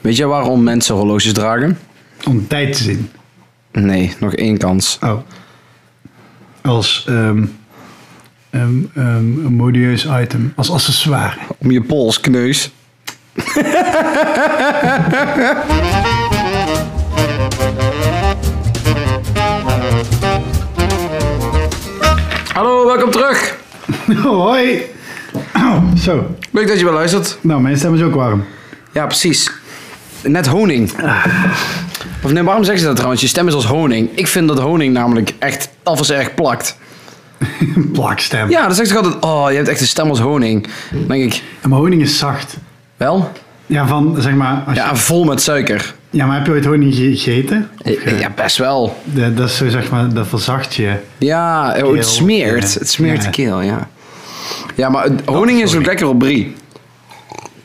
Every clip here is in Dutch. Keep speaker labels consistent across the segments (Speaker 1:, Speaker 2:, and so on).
Speaker 1: Weet jij waarom mensen horloges dragen?
Speaker 2: Om tijd te zien.
Speaker 1: Nee, nog één kans.
Speaker 2: Oh. Als ehm ehm, ehm, een modieus item. Als accessoire.
Speaker 1: Om je pols, kneus. Hallo, welkom terug.
Speaker 2: Hoi. Zo.
Speaker 1: Leuk dat je wel luistert.
Speaker 2: Nou, mijn stem is ook warm.
Speaker 1: Ja, precies. Net honing. Of nee, waarom zeggen ze dat trouwens? Je stem is als honing. Ik vind dat honing namelijk echt alvast erg plakt.
Speaker 2: Plakstem.
Speaker 1: Ja, dan zegt ze altijd, oh, je hebt echt een stem als honing. Dan denk ik,
Speaker 2: En mijn honing is zacht.
Speaker 1: wel?
Speaker 2: Ja, van, zeg maar... Als
Speaker 1: Ja,
Speaker 2: je,
Speaker 1: en vol met suiker.
Speaker 2: ja, maar heb je ooit honing ge- gegeten? Of ge-
Speaker 1: Eh, Ja, best wel.
Speaker 2: De- dat is zo, zeg maar, dat verzacht je.
Speaker 1: Ja, oh,
Speaker 2: Keel,
Speaker 1: het smeert.
Speaker 2: ja.
Speaker 1: Het smeert
Speaker 2: Ja.
Speaker 1: de keel, ja. Ja, maar het- honing is ook lekker op brie.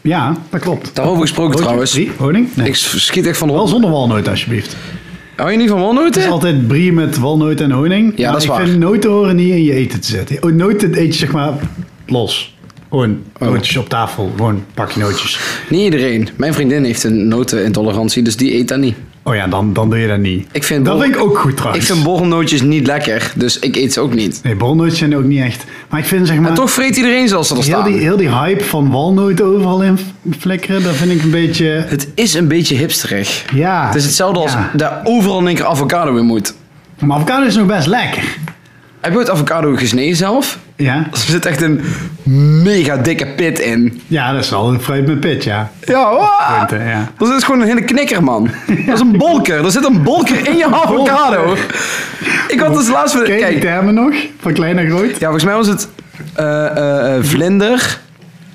Speaker 2: Ja, dat klopt.
Speaker 1: Daarover gesproken
Speaker 2: Broodje
Speaker 1: trouwens.
Speaker 2: Brie? Honing? Nee.
Speaker 1: Ik schiet echt van
Speaker 2: Wel
Speaker 1: hol.
Speaker 2: zonder walnoot, alsjeblieft. Het
Speaker 1: Hou je niet van
Speaker 2: is
Speaker 1: walnoten?
Speaker 2: altijd brie met walnoot en honing.
Speaker 1: Ja,
Speaker 2: Maar
Speaker 1: dat is
Speaker 2: ik
Speaker 1: waar.
Speaker 2: vind noten horen niet in je eten te zetten. Oh, Noten eet je, zeg maar, los. Gewoon
Speaker 1: Oh.
Speaker 2: nootjes op tafel. Gewoon een pakje nootjes.
Speaker 1: Niet iedereen. Mijn vriendin heeft een notenintolerantie, dus die eet dat niet.
Speaker 2: Oh ja, dan, dan doe je dat niet.
Speaker 1: Ik vind
Speaker 2: dat
Speaker 1: bol-
Speaker 2: vind ik ook goed,
Speaker 1: Ik
Speaker 2: trouwens.
Speaker 1: vind borrelnootjes niet lekker, dus ik eet ze ook niet.
Speaker 2: Nee, bolnootjes zijn ook niet echt. Maar ik vind, zeg maar...
Speaker 1: Maar toch vreet iedereen zoals ze er
Speaker 2: Heel
Speaker 1: staan.
Speaker 2: die, heel die hype van walnoten overal in flikkeren, dat vind ik een beetje...
Speaker 1: Het is een beetje hipsterig.
Speaker 2: Ja.
Speaker 1: Het is hetzelfde als
Speaker 2: Ja.
Speaker 1: daar overal in één keer avocado in moet.
Speaker 2: Maar avocado is nog best lekker.
Speaker 1: Heb je ooit avocado gesneden zelf?
Speaker 2: Ja,
Speaker 1: Er zit echt een mega dikke pit in.
Speaker 2: ja dat is wel een fruit met pit, ja.
Speaker 1: Ja, ah.
Speaker 2: Punten, ja.
Speaker 1: Dat is gewoon een hele knikker, man. Dat is een bolker. Er zit een bolker in je avocado. Ik had dus laatst...
Speaker 2: Ken je die
Speaker 1: Kijk,
Speaker 2: termen nog? Van klein naar groot?
Speaker 1: ja, volgens mij was het eh, eh, eh, vlinder.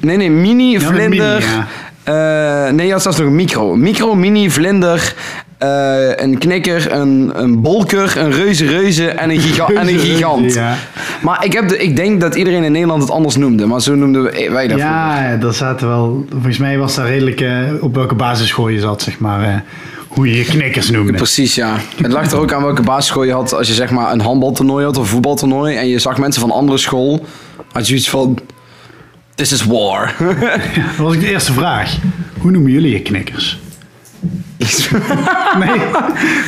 Speaker 1: Nee, nee, mini,
Speaker 2: met
Speaker 1: vlinder.
Speaker 2: mini, ja.
Speaker 1: Eh, nee, je had zelfs nog een micro. Micro, mini, vlinder, eh, een knikker, een, een bolker, een reuze reuze en een, giga en een
Speaker 2: Reuze,
Speaker 1: gigant.
Speaker 2: reuze, ja.
Speaker 1: Maar ik, heb de, ik denk dat iedereen in Nederland het anders noemde. Maar zo noemden we- wij dat vroeger.
Speaker 2: Ja, daar zaten wel... Volgens mij was daar redelijk... eh, op welke basisschool je zat, zeg maar. eh, hoe je je knikkers noemde.
Speaker 1: Precies, ja. Het lag er ook aan welke basisschool je had. Als je zeg maar een handbaltoernooi had of een voetbaltoernooi en je zag mensen van andere school, had je iets van, this is war.
Speaker 2: Dat was ik de eerste vraag. Hoe noemen jullie je knikkers?
Speaker 1: Iets-
Speaker 2: Nee.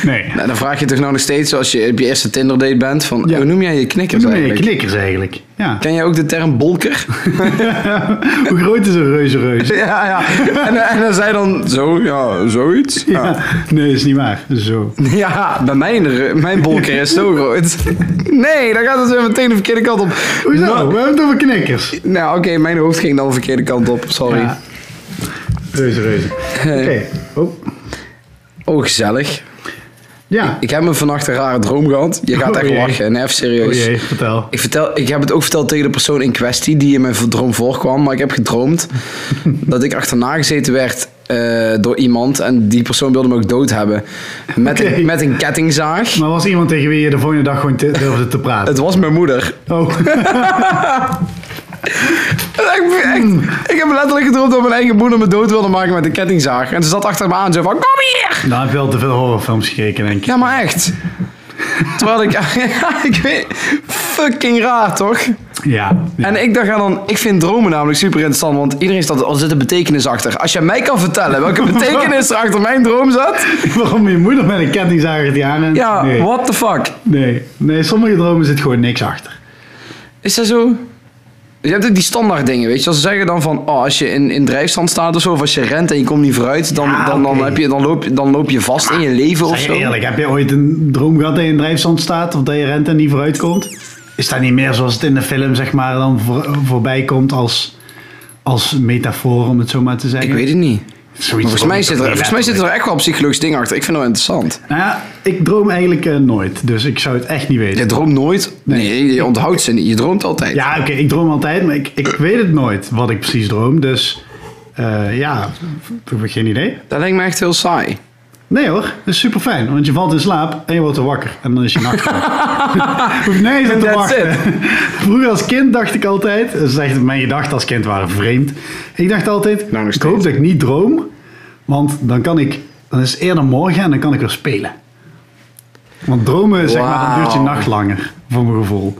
Speaker 2: Nee.
Speaker 1: nou, dan vraag je toch nou nog steeds, zoals je op je eerste Tinder date bent, van,
Speaker 2: Ja.
Speaker 1: hoe noem jij je
Speaker 2: Hoe
Speaker 1: knikkers
Speaker 2: noem je je
Speaker 1: eigenlijk?
Speaker 2: knikkers eigenlijk? Ja.
Speaker 1: Ken jij ook de term bolker?
Speaker 2: Hoe groot is een reuze reuze?
Speaker 1: ja, ja. En, eh, en dan zei dan, zo, ja, zoiets. Ja.
Speaker 2: Ja. Nee, dat is niet waar. Zo.
Speaker 1: Ja, bij mijn, re- mijn bolker is zo groot. Nee, dan gaat het weer meteen de verkeerde kant op.
Speaker 2: Hoezo?
Speaker 1: Nou,
Speaker 2: We hebben het over knikkers.
Speaker 1: nou oké, mijn hoofd ging dan de verkeerde kant op, sorry.
Speaker 2: Ja. Reuze, reuze. Oké. Oh.
Speaker 1: Oh, gezellig.
Speaker 2: Ja.
Speaker 1: Ik heb me vannacht een rare droom gehad. Je gaat
Speaker 2: Oh
Speaker 1: echt
Speaker 2: jee.
Speaker 1: lachen. Nee, even
Speaker 2: Oh
Speaker 1: serieus.
Speaker 2: jee, vertel.
Speaker 1: ik, vertel, ik heb het ook verteld tegen de persoon in kwestie die in mijn droom voorkwam. Maar ik heb gedroomd dat ik achterna gezeten werd eh, door iemand. En die persoon wilde me ook dood hebben. Met,
Speaker 2: Oké.
Speaker 1: een, met een kettingzaag.
Speaker 2: Maar was iemand tegen wie je de volgende dag gewoon te- durfde te praten?
Speaker 1: Het was mijn moeder.
Speaker 2: Oh,
Speaker 1: Ik,
Speaker 2: Hmm.
Speaker 1: echt- ik heb letterlijk gedroomd dat mijn eigen moeder me dood wilde maken met een kettingzaag. En ze zat achter me aan zo van, kom hier!
Speaker 2: dan Nou, heb je wel te veel horrorfilms gekeken, denk ik.
Speaker 1: Ja, maar echt. Terwijl ik... Ja, ik weet... Fucking raar, toch?
Speaker 2: Ja. ja.
Speaker 1: En ik dacht ja, dan, ik vind dromen namelijk super interessant, want iedereen staat, er zit een betekenis achter. Als jij mij kan vertellen welke betekenis er achter mijn droom zat,
Speaker 2: Waarom je moeder met een kettingzager het jaar in?
Speaker 1: ja,
Speaker 2: nee.
Speaker 1: what the fuck.
Speaker 2: nee. Nee, sommige dromen zit gewoon niks achter.
Speaker 1: Is dat zo? Je hebt ook die standaard dingen, weet je. Als ze zeggen dan van, oh, als je in, in drijfstand staat of zo, of als je rent en je komt niet vooruit, dan,
Speaker 2: Ja,
Speaker 1: dan, dan,
Speaker 2: oké.
Speaker 1: heb je, dan, loop, je- dan loop je vast in je leven of
Speaker 2: Zeg je
Speaker 1: zo.
Speaker 2: eerlijk, heb je ooit een droom gehad dat je in drijfstand staat of dat je rent en niet vooruit komt? Is dat niet meer zoals het in de film zeg maar dan voor- voorbij komt als, als metafoor om het zo maar te zeggen?
Speaker 1: Ik weet het niet. Maar
Speaker 2: Zoiets
Speaker 1: volgens mij,
Speaker 2: droom
Speaker 1: zit
Speaker 2: ik
Speaker 1: er,
Speaker 2: ook niet
Speaker 1: volgens mij zit
Speaker 2: letterlijk.
Speaker 1: er echt wel psychologisch dingen achter. Ik vind dat wel interessant.
Speaker 2: Nou ja, ik droom eigenlijk eh, nooit, dus ik zou het echt niet weten.
Speaker 1: Je droomt nooit. Nee, je onthoudt ze niet. Je droomt altijd.
Speaker 2: Ja, oké, ik droom altijd, maar ik, ik weet het nooit wat ik precies droom. Dus eh, ja, ik heb geen idee.
Speaker 1: Dat lijkt me echt heel saai.
Speaker 2: Nee hoor, dat is super fijn. Want je valt in slaap en je wordt er wakker. En dan is je nacht. wakker. Hoef nee te
Speaker 1: That's
Speaker 2: wachten. Vroeger als kind dacht ik altijd. Dat is echt, mijn gedachten als kind waren vreemd. Ik dacht altijd,
Speaker 1: Nou, nog
Speaker 2: ik hoop
Speaker 1: steeds.
Speaker 2: dat ik niet droom. Want dan kan ik, dan is het eerder morgen en dan kan ik weer spelen. Want dromen, zeg maar, dan duurt je
Speaker 1: Wauw.
Speaker 2: nacht langer. Voor mijn gevoel.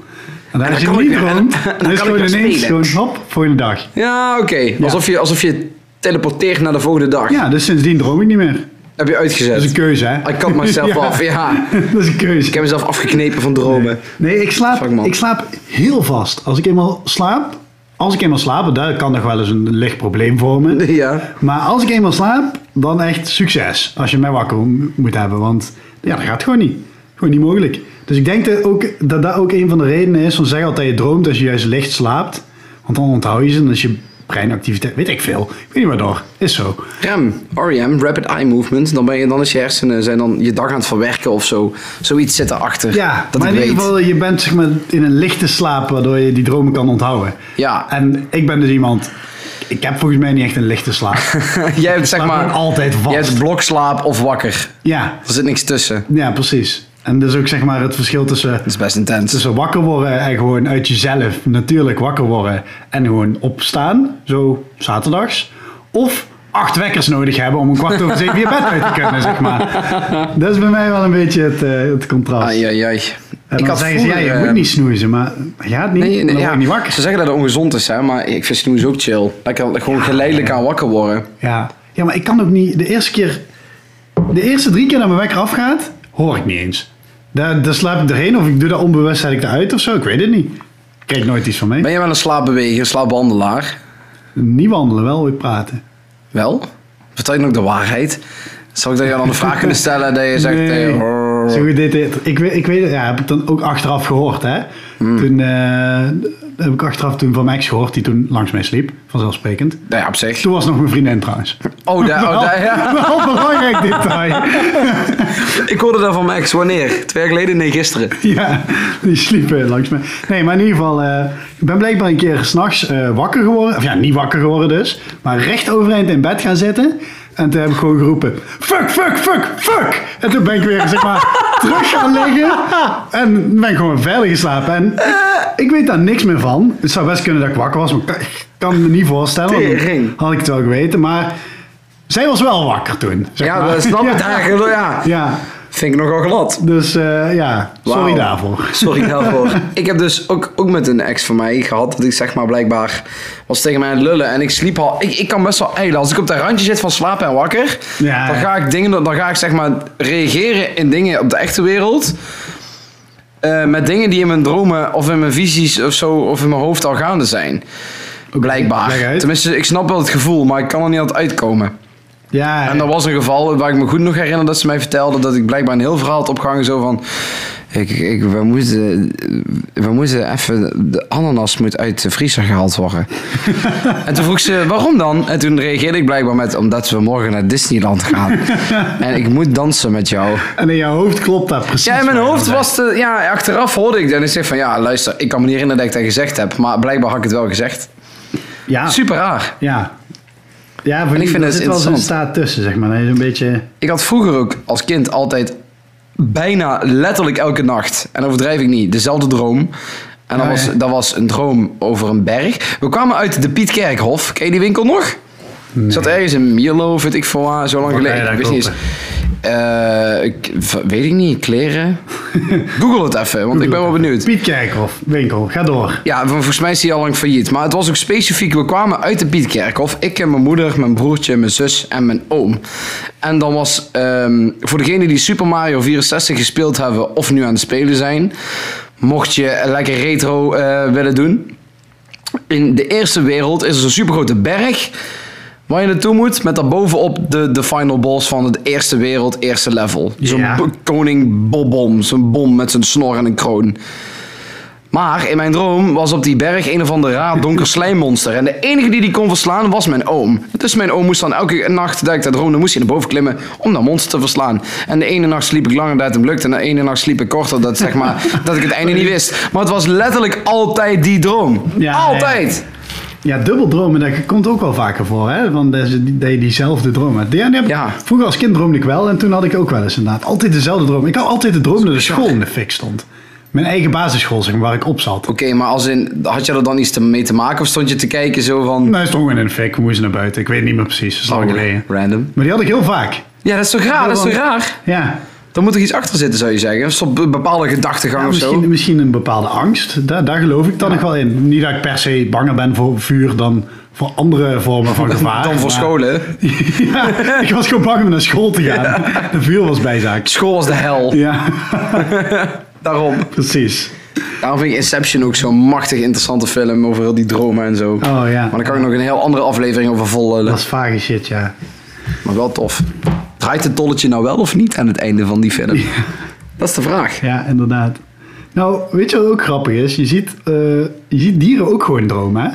Speaker 2: En als je
Speaker 1: kan ik
Speaker 2: niet
Speaker 1: weer- en-
Speaker 2: droomt,
Speaker 1: en dan
Speaker 2: dan is
Speaker 1: kan
Speaker 2: het
Speaker 1: ik
Speaker 2: gewoon
Speaker 1: weer
Speaker 2: ineens
Speaker 1: spelen.
Speaker 2: gewoon hop, volgende dag.
Speaker 1: Ja, oké. Alsof, je, alsof je teleporteert naar de volgende dag.
Speaker 2: Ja, dus sindsdien droom ik niet meer.
Speaker 1: Heb je uitgezet?
Speaker 2: Dat is een keuze, hè?
Speaker 1: Ik kat mezelf
Speaker 2: Ja.
Speaker 1: af, ja.
Speaker 2: dat is een keuze.
Speaker 1: Ik heb mezelf afgeknepen van dromen.
Speaker 2: Nee, ik slaap,
Speaker 1: Fuck, man.
Speaker 2: ik slaap heel vast. Als ik eenmaal slaap, als ik eenmaal slaap, daar kan nog wel eens een licht probleem vormen.
Speaker 1: Ja.
Speaker 2: Maar als ik eenmaal slaap, dan echt succes. Als je mij wakker mo- moet hebben, want ja, dat gaat gewoon niet. Gewoon niet mogelijk. Dus ik denk dat ook, dat, dat ook een van de redenen is van zeggen altijd je droomt als je juist licht slaapt. Want dan onthoud je ze en dan is je breinactiviteit, weet ik veel. Ik weet niet waardoor. Is zo.
Speaker 1: REM, REM, E Rapid Eye Movement. Dan, ben je, dan is je hersenen zijn dan je dag aan het verwerken of zo. Zoiets zit erachter.
Speaker 2: Ja,
Speaker 1: dat
Speaker 2: maar
Speaker 1: ik
Speaker 2: in
Speaker 1: weet.
Speaker 2: ieder geval, je bent zeg maar, in een lichte slaap waardoor je die dromen kan onthouden.
Speaker 1: Ja.
Speaker 2: En ik ben dus iemand, ik heb volgens mij niet echt een lichte slaap.
Speaker 1: Jij hebt zeg
Speaker 2: slaap
Speaker 1: maar...
Speaker 2: gewoon altijd vast.
Speaker 1: Je hebt blokslaap of wakker.
Speaker 2: ja,
Speaker 1: Er zit niks tussen.
Speaker 2: ja, precies. En dus ook zeg maar het verschil tussen,
Speaker 1: Dat is best intens.
Speaker 2: tussen wakker worden en gewoon uit jezelf natuurlijk wakker worden en gewoon opstaan, zo zaterdags. Of acht wekkers nodig hebben om een kwart over zeven je bed uit te kunnen, zeg maar. Dat is bij mij wel een beetje het, eh, het contrast.
Speaker 1: Ai, ai, ai.
Speaker 2: En dan zeggen ze, ja, je
Speaker 1: eh,
Speaker 2: moet niet snoezen, maar je gaat niet,
Speaker 1: Nee, nee,
Speaker 2: dan word
Speaker 1: ja,
Speaker 2: ik niet wakker.
Speaker 1: Ze zeggen dat het ongezond is, hè, maar ik vind snoezen ook chill. Lekker gewoon geleidelijk aan wakker worden.
Speaker 2: Ja. ja, maar ik kan ook niet. De eerste keer. De eerste drie keer dat mijn wekker afgaat, hoor ik niet eens. Daar, daar slaap ik erheen of ik doe dat onbewust, zet ik eruit of zo. Ik weet het niet. Ik krijg nooit iets van mee.
Speaker 1: Ben je wel een slaapbeweger, slaapbehandelaar?
Speaker 2: Niet wandelen, wel weer praten.
Speaker 1: Wel? Vertel je dan ook de waarheid? Zal ik dat je dan een vraag kunnen stellen dat je zegt... eh, hoor.
Speaker 2: Zo goed deed dit. Ik, weet- ik weet het, ja, heb ik dan ook achteraf gehoord. Hè?
Speaker 1: Hmm.
Speaker 2: Toen eh, heb ik achteraf toen van mijn ex gehoord, die toen langs mij sliep, vanzelfsprekend.
Speaker 1: nou ja, op zich.
Speaker 2: Toen was nog mijn vriendin trouwens.
Speaker 1: Oh, daar, oh, daar, ja.
Speaker 2: Wel belangrijk detail.
Speaker 1: Ik hoorde dat van mijn ex. Wanneer? Twee jaar geleden? Nee, gisteren.
Speaker 2: Ja, die sliepen langs me. Nee, maar in ieder geval, eh, ik ben blijkbaar een keer s'nachts eh wakker geworden. Of ja, niet wakker geworden dus. Maar recht overeind in bed gaan zitten. En toen heb ik gewoon geroepen, fuck, fuck, fuck, fuck. En toen ben ik weer, zeg maar, terug gaan liggen. En ben ik gewoon verder geslapen. En ik, ik weet daar niks meer van. Het zou best kunnen dat ik wakker was, maar ik kan- ik kan me niet voorstellen. want dan
Speaker 1: Tering.
Speaker 2: Had ik het wel geweten, maar... Zij was wel wakker toen. zeg
Speaker 1: Ja,
Speaker 2: maar.
Speaker 1: dat snap ik
Speaker 2: Ja.
Speaker 1: eigenlijk. Ja.
Speaker 2: Ja,
Speaker 1: Vind ik nogal glad.
Speaker 2: dus eh, ja, sorry
Speaker 1: Wauw.
Speaker 2: daarvoor.
Speaker 1: Sorry daarvoor. ik heb dus ook, ook met een ex van mij gehad dat ik zeg maar blijkbaar was tegen mij aan het lullen en ik sliep al. Ik, ik kan best wel eilen. Als ik op dat randje zit van slapen en wakker,
Speaker 2: Ja.
Speaker 1: dan ga ik dingen, doen- dan ga ik zeg maar reageren in dingen op de echte wereld. eh, met dingen die in mijn dromen of in mijn visies of zo of in mijn hoofd al gaande zijn.
Speaker 2: leg
Speaker 1: Blijkbaar.
Speaker 2: uit.
Speaker 1: Tenminste, ik snap wel het gevoel, maar ik kan er niet altijd uitkomen.
Speaker 2: Ja,
Speaker 1: En er was een geval waar ik me goed nog herinner dat ze mij vertelde dat ik blijkbaar een heel verhaal had opgehangen zo van... Ik, ik, we, moesten, we moesten even... De ananas moet uit de vriezer gehaald worden. en toen vroeg ze, waarom dan? En toen reageerde ik blijkbaar met, omdat we morgen naar Disneyland gaan. en ik moet dansen met jou.
Speaker 2: En in jouw hoofd klopt dat precies.
Speaker 1: Ja, in mijn
Speaker 2: wat je
Speaker 1: hoofd
Speaker 2: dan
Speaker 1: was de... Ja, achteraf hoorde ik dat en ik zei van, ja, luister, ik kan me niet herinneren dat ik dat gezegd heb. Maar blijkbaar had ik het wel gezegd.
Speaker 2: zegt. Ja,
Speaker 1: Super raar.
Speaker 2: ja. Ja, voor
Speaker 1: En ik vind
Speaker 2: dat
Speaker 1: het
Speaker 2: zit wel zo'n
Speaker 1: interessant.
Speaker 2: staat tussen, zeg maar. Dat is een beetje...
Speaker 1: Ik had vroeger ook als kind altijd bijna letterlijk elke nacht, en overdrijf ik niet, dezelfde droom. En dat,
Speaker 2: Ja,
Speaker 1: was,
Speaker 2: ja.
Speaker 1: dat was een droom over een berg. We kwamen uit de Piet Kerkhof. Ken je die winkel nog? Ik zat ergens in Mierlo, vind ik voor waar, zo lang
Speaker 2: Wat
Speaker 1: geleden.
Speaker 2: kan je
Speaker 1: Ik
Speaker 2: daar
Speaker 1: wist niet eens. Eh, ik- v- weet ik niet, kleren? Google het even, want ik ben wel benieuwd.
Speaker 2: Piet Kerkhoff, winkel, ga door.
Speaker 1: Ja, volgens mij is die al lang failliet. Maar het was ook specifiek, we kwamen uit de Pietkerkhof. Ik en mijn moeder, mijn broertje, mijn zus en mijn oom. En dan was, ehm, voor degenen die Super Mario 64 gespeeld hebben of nu aan het spelen zijn... mocht je lekker retro eh, willen doen... In de eerste wereld is er zo'n supergrote berg waar je naartoe moet met daarbovenop de, de final boss van het eerste wereld, eerste level. Zo'n
Speaker 2: Ja.
Speaker 1: b- koning Bobbom, zo'n bom met zijn snor en een kroon. Maar in mijn droom was op die berg een of ander raar donker slijmmonster. En de enige die die kon verslaan was mijn oom. Dus mijn oom moest dan elke nacht dat ik dat droomde, moest hij naar boven klimmen om dat monster te verslaan. En de ene nacht sliep ik langer dat het hem lukte. En de ene nacht sliep ik korter dat, zeg maar, dat ik het einde niet wist. Maar het was letterlijk altijd die droom.
Speaker 2: Ja,
Speaker 1: altijd!
Speaker 2: Ja, dubbeldromen, dat komt ook wel vaker voor, hè? Want dat is- dat je diezelfde droom hebt. Ja, die heb ik-
Speaker 1: Ja.
Speaker 2: Vroeger als kind droomde ik wel en toen had ik ook wel eens inderdaad altijd dezelfde droom. Ik had altijd de droom dat de school in de fik stond. Mijn eigen basisschool, zeg maar, waar ik op zat.
Speaker 1: Oké, maar als in, had je er dan iets te- mee te maken of stond je te kijken zo van...
Speaker 2: Nou, stond gewoon in de fik, we moesten naar buiten. Ik weet niet meer precies, dat is lang geleden.
Speaker 1: random.
Speaker 2: Maar die had ik heel vaak.
Speaker 1: Ja, dat is toch raar? Dat is toch raar?
Speaker 2: Ja,
Speaker 1: Dan moet er iets achter zitten, zou je zeggen. Of zo'n be- bepaalde gedachtegang
Speaker 2: Ja,
Speaker 1: of zo.
Speaker 2: misschien, misschien een bepaalde angst. Daar, daar geloof ik dan nog wel in. Niet dat ik per se banger ben voor vuur dan voor andere vormen van gevaar.
Speaker 1: Dan voor
Speaker 2: maar-
Speaker 1: scholen.
Speaker 2: ja, ik was gewoon bang om naar school te gaan. De vuur was bijzaak.
Speaker 1: School was de hel.
Speaker 2: Ja,
Speaker 1: Daarom.
Speaker 2: precies.
Speaker 1: Daarom vind ik Inception ook zo'n machtig interessante film over heel die dromen en zo.
Speaker 2: Oh ja.
Speaker 1: Maar daar kan ik nog een heel andere aflevering over vol lullen.
Speaker 2: Dat is vage shit, ja.
Speaker 1: Maar wel tof. Draait het dolletje nou wel of niet aan het einde van die film? Dat is de vraag.
Speaker 2: Ja, inderdaad. Nou, weet je wat ook grappig is? Je ziet, eh, je ziet dieren ook gewoon dromen, hè?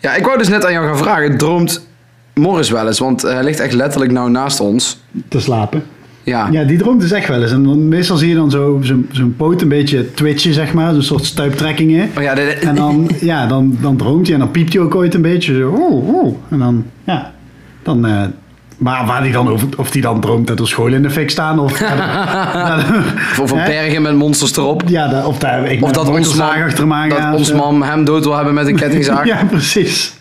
Speaker 1: Ja, ik wou dus net aan jou gaan vragen. Droomt Morris wel eens? Want eh, hij ligt echt letterlijk nou naast ons.
Speaker 2: Te slapen.
Speaker 1: Ja.
Speaker 2: Ja, die droomt dus echt wel eens. En dan, meestal zie je dan zo- zo'n zo'n poot een beetje twitchen, zeg maar. Zo'n soort stuiptrekkingen.
Speaker 1: Oh ja, de-
Speaker 2: En dan, ja, dan, dan droomt hij en dan piept hij ook ooit een beetje. Zo, oeh, oeh. En dan, ja, dan... eh, maar waar die dan over, of die dan droomt dat er scholen in de fik staan of...
Speaker 1: of over
Speaker 2: Hè?
Speaker 1: bergen met monsters erop.
Speaker 2: ja, daar- of daar, ik
Speaker 1: Of dat ons, man,
Speaker 2: zaag achter me aan
Speaker 1: dat
Speaker 2: gaat.
Speaker 1: ons man hem dood wil hebben met een kettingzaag.
Speaker 2: Ja, precies.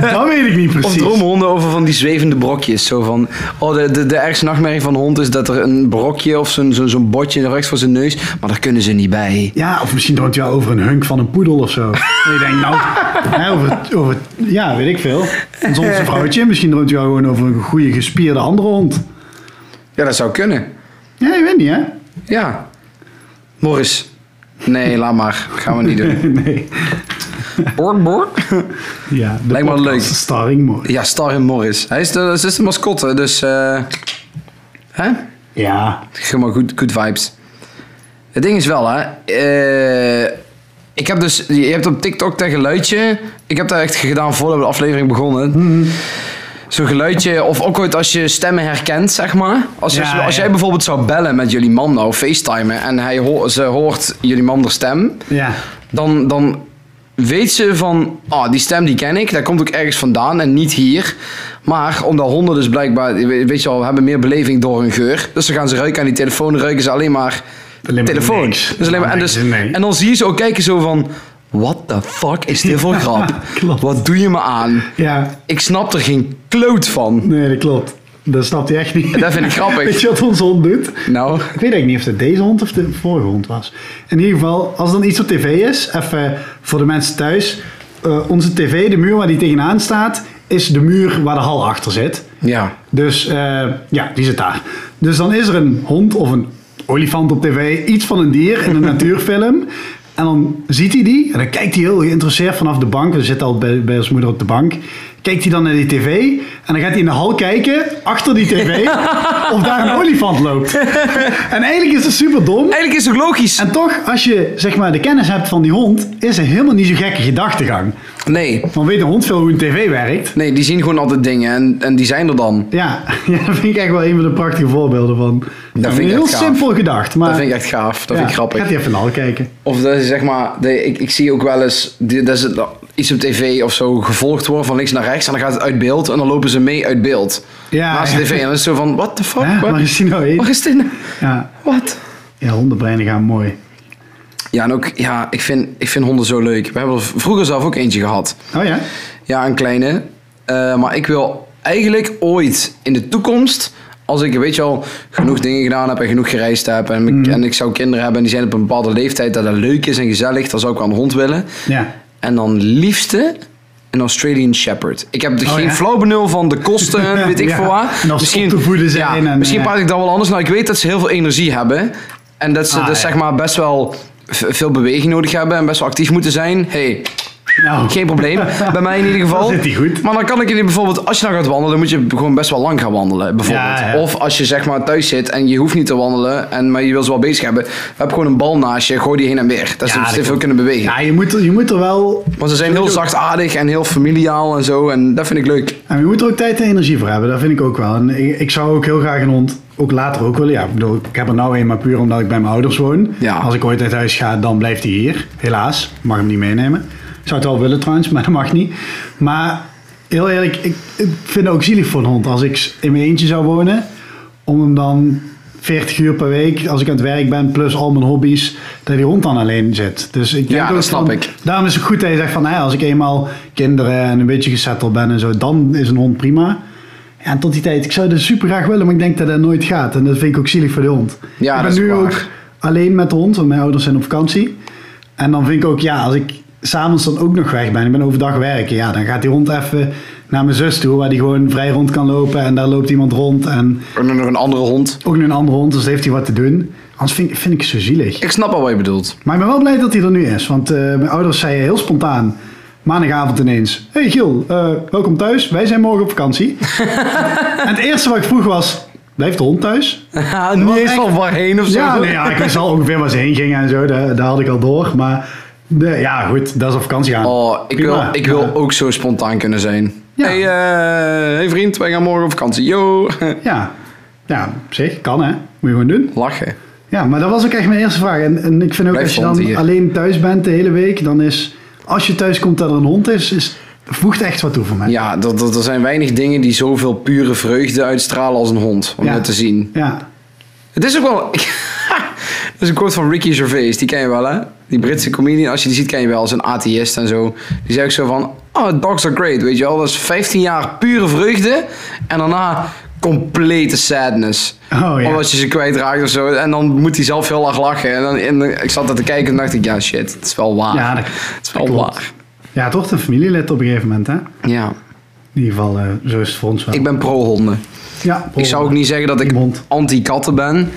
Speaker 2: dat weet ik niet
Speaker 1: Of
Speaker 2: precies.
Speaker 1: droomhonden over van die zwevende brokjes. Zo van, oh, de, de, de ergste nachtmerrie van een hond is dat er een brokje of zo'n zo'n zo'n botje rechts voor zijn neus. Maar daar kunnen ze niet bij.
Speaker 2: Ja, of misschien droomt hij wel over een hunk van een poedel of zo. En je denkt, nou, hè, over, over, ja, weet ik veel. Een zonse vrouwtje, misschien droomt hij wel gewoon over een goede gespierde andere hond.
Speaker 1: Ja, dat zou kunnen.
Speaker 2: Ja, je weet niet, hè?
Speaker 1: Ja. Morris. Nee, laat maar. Gaan we niet doen.
Speaker 2: nee.
Speaker 1: Bork, bork.
Speaker 2: Ja, de
Speaker 1: Lijkt me wel
Speaker 2: podcast
Speaker 1: leuk.
Speaker 2: Starring mooi.
Speaker 1: Ja, Star en Morris. Hij is de, ze is de mascotte, dus... eh hè?
Speaker 2: Ja,
Speaker 1: Gewoon maar goed, goed vibes. Het ding is wel, hè. eh, ik heb dus... Je hebt op TikTok dat geluidje... Ik heb dat echt gedaan voordat we de aflevering begonnen. Zo'n geluidje, of ook ooit als je stemmen herkent, zeg maar. Als, je-
Speaker 2: Ja,
Speaker 1: als jij
Speaker 2: ja.
Speaker 1: bijvoorbeeld zou bellen met jullie man nou, facetimen... en hij ho- ze hoort jullie man de stem...
Speaker 2: ja.
Speaker 1: dan, dan weet ze van, ah, die stem die ken ik, dat komt ook ergens vandaan en niet hier. Maar omdat honden dus blijkbaar, weet je wel, hebben meer beleving door hun geur. Dus dan gaan ze ruiken aan die telefoon, ruiken ze alleen maar
Speaker 2: Alleen maar
Speaker 1: telefoon.
Speaker 2: niks.
Speaker 1: Dus alleen maar, en, dus,
Speaker 2: Nee, nee.
Speaker 1: en dan zie je ze ook kijken zo van, what the fuck is dit voor grap?
Speaker 2: Klopt.
Speaker 1: Wat doe je me aan?
Speaker 2: Ja,
Speaker 1: Ik snap er geen kloot van.
Speaker 2: nee, dat klopt. Dat snapt hij echt niet.
Speaker 1: Dat vind ik grappig.
Speaker 2: Weet je wat onze hond doet?
Speaker 1: Nou,
Speaker 2: Ik weet eigenlijk niet of het deze hond of de vorige hond was. In ieder geval, als dan iets op tv is, even voor de mensen thuis. eh, onze tv, de muur waar die tegenaan staat, is de muur waar de hal achter zit.
Speaker 1: ja.
Speaker 2: Dus eh, ja, die zit daar. Dus dan is er een hond of een olifant op tv, iets van een dier in een natuurfilm. En dan ziet hij die en dan kijkt hij heel geïnteresseerd vanaf de bank. We zitten al bij, bij ons moeder op de bank. Kijkt hij dan naar die tv en dan gaat hij in de hal kijken, achter die tv, of daar een olifant loopt. En eigenlijk is het super dom.
Speaker 1: Eigenlijk is het ook logisch.
Speaker 2: En toch, als je zeg maar, de kennis hebt van die hond, is het helemaal niet zo'n gekke gedachtegang.
Speaker 1: Nee,
Speaker 2: Want weet een hond veel hoe een tv werkt?
Speaker 1: nee, die zien gewoon altijd dingen en, en die zijn er dan.
Speaker 2: Ja, ja, dat vind ik echt wel een van de prachtige voorbeelden van.
Speaker 1: vind ik
Speaker 2: een heel
Speaker 1: echt gaaf.
Speaker 2: simpel gedacht, maar.
Speaker 1: Dat vind ik echt gaaf, dat
Speaker 2: Ja,
Speaker 1: vind ik grappig.
Speaker 2: Gaat hij even naar al kijken.
Speaker 1: Of dat is zeg maar, de, ik, ik zie ook wel eens die- dat ze dat iets op tv of zo gevolgd worden van links naar rechts en dan gaat het uit beeld en dan lopen ze mee uit beeld.
Speaker 2: Ja,
Speaker 1: Naast de
Speaker 2: ja.
Speaker 1: tv en dan is het zo van, what the fuck?
Speaker 2: Hè,
Speaker 1: Wat
Speaker 2: waar is hij nou heen?
Speaker 1: Waar is dit nou?
Speaker 2: Ja,
Speaker 1: Wat?
Speaker 2: ja hondenbreinen gaan mooi.
Speaker 1: Ja, en ook, ja, ik vind, ik vind honden zo leuk. We hebben er vroeger zelf ook eentje gehad.
Speaker 2: Oh ja?
Speaker 1: Ja, een kleine. Eh, maar ik wil eigenlijk ooit in de toekomst, als ik weet je al genoeg dingen gedaan heb en genoeg gereisd heb en,
Speaker 2: Mhm.
Speaker 1: ik- en ik zou kinderen hebben en die zijn op een bepaalde leeftijd dat dat leuk is en gezellig, dan zou ik wel een hond willen.
Speaker 2: Ja.
Speaker 1: En dan liefste een Australian Shepherd. Ik heb er
Speaker 2: Oh,
Speaker 1: geen
Speaker 2: ja?
Speaker 1: flauw benul van de kosten en weet ik
Speaker 2: Ja,
Speaker 1: veel wat.
Speaker 2: en of ze op te voeden zijn
Speaker 1: Ja,
Speaker 2: en, eh,
Speaker 1: misschien
Speaker 2: ja.
Speaker 1: praat ik dan wel anders. Nou, ik weet dat ze heel veel energie hebben. En dat ze
Speaker 2: Ah,
Speaker 1: dus
Speaker 2: ja.
Speaker 1: zeg maar best wel v- veel beweging nodig hebben en best wel actief moeten zijn. hey,
Speaker 2: Nou,
Speaker 1: geen probleem. Bij mij in ieder geval.
Speaker 2: Dan zit die goed.
Speaker 1: Maar dan kan ik jullie bijvoorbeeld, als je nou gaat wandelen, moet je gewoon best wel lang gaan wandelen. Bijvoorbeeld.
Speaker 2: Ja, ja.
Speaker 1: Of als je zeg maar thuis zit en je hoeft niet te wandelen, en, maar je wil ze wel bezig hebben. Heb gewoon een bal naast je, gooi die heen en weer. Dat ze
Speaker 2: dat
Speaker 1: te veel
Speaker 2: klopt.
Speaker 1: kunnen bewegen.
Speaker 2: ja, je, moet er, je moet er wel.
Speaker 1: Want ze zijn heel zachtaardig en heel familiaal en zo. En dat vind ik leuk.
Speaker 2: En je moet er ook tijd en energie voor hebben, dat vind ik ook wel. En ik, ik zou ook heel graag een hond, ook later ook willen. Ja, ik bedoel, ik heb er nou een, maar puur omdat ik bij mijn ouders woon.
Speaker 1: Ja.
Speaker 2: Als ik ooit uit huis ga, dan blijft hij hier. Helaas, mag hem niet meenemen. Ik zou het wel willen trouwens, maar dat mag niet. Maar heel eerlijk, ik, ik vind het ook zielig voor een hond. Als ik in mijn eentje zou wonen, om hem dan 40 uur per week, als ik aan het werk ben, plus al mijn hobby's, dat die hond dan alleen zit. Dus ik denk
Speaker 1: Ja,
Speaker 2: ook
Speaker 1: dat snap
Speaker 2: van-
Speaker 1: ik.
Speaker 2: Daarom is het goed dat je zegt van, hè, als ik eenmaal kinderen en een beetje gesetteld ben en zo, dan is een hond prima. Ja, en tot die tijd, ik zou dat super graag willen, maar ik denk dat dat nooit gaat. En dat vind ik ook zielig voor de hond.
Speaker 1: Ja,
Speaker 2: ik ben
Speaker 1: dat is
Speaker 2: nu
Speaker 1: waar.
Speaker 2: ook alleen met de hond, want mijn ouders zijn op vakantie. En dan vind ik ook, ja, als ik s'avonds dan ook nog weg ben, ik ben overdag werken, ja, dan gaat die hond even naar mijn zus toe, waar die gewoon vrij rond kan lopen en daar loopt iemand rond en
Speaker 1: En dan nog een andere hond.
Speaker 2: ook nog een andere hond, dus heeft hij wat te doen. Anders vind, ik- vind ik het zo zielig.
Speaker 1: Ik snap al wat je bedoelt.
Speaker 2: Maar ik ben wel blij dat hij er nu is, want eh, mijn ouders zeiden heel spontaan, maandagavond ineens, hey Giel, eh, welkom thuis, wij zijn morgen op vakantie. en het eerste wat ik vroeg was, blijft de hond thuis?
Speaker 1: Niet
Speaker 2: eens van
Speaker 1: waarheen of
Speaker 2: Ja, nee, ja, ik wist al ongeveer waar ze heen gingen en zo. Daar, daar had ik al door. Maar de, ja, goed, dat is op vakantie gaan.
Speaker 1: Oh, ik wil,
Speaker 2: Prima.
Speaker 1: ik wil
Speaker 2: Ja.
Speaker 1: ook zo spontaan kunnen zijn.
Speaker 2: Ja.
Speaker 1: Hey, eh, hey vriend, wij gaan morgen op vakantie. Yo!
Speaker 2: Ja. ja, op zich, kan hè. Moet je gewoon doen.
Speaker 1: Lachen.
Speaker 2: Ja, maar dat was ook echt mijn eerste vraag. En, en ik vind ook
Speaker 1: Blijf
Speaker 2: als je
Speaker 1: hond
Speaker 2: dan
Speaker 1: hier.
Speaker 2: alleen thuis bent de hele week, dan is, als je thuis komt dat er een hond is, is voegt echt wat toe voor mij.
Speaker 1: Ja, dat, dat, er zijn weinig dingen die zoveel pure vreugde uitstralen als een hond. Om
Speaker 2: Ja.
Speaker 1: dat te zien.
Speaker 2: Ja.
Speaker 1: Het is ook wel... dat is een quote van Ricky Gervais. Die ken je wel, hè? Die Britse comedian. Als je die ziet, ken je wel. Als een atheïst en zo. Die zegt ook zo van... Oh, dogs are great, weet je wel. Dat is 15 jaar pure vreugde. En daarna complete sadness.
Speaker 2: Oh ja.
Speaker 1: Omdat je ze kwijtraakt of zo. En dan moet hij zelf heel erg lachen. En, dan, en ik zat daar te kijken en dacht ik... Ja, shit. Het is wel waar.
Speaker 2: Ja, dat-
Speaker 1: het is wel
Speaker 2: klopt.
Speaker 1: waar.
Speaker 2: ja, toch een familielid op een gegeven moment, hè?
Speaker 1: Ja.
Speaker 2: In ieder geval, eh, zo is het voor ons wel.
Speaker 1: Ik ben pro-honden.
Speaker 2: ja,
Speaker 1: Ik zou ook niet zeggen dat ik
Speaker 2: Hond.
Speaker 1: anti-katten ben.
Speaker 2: Nou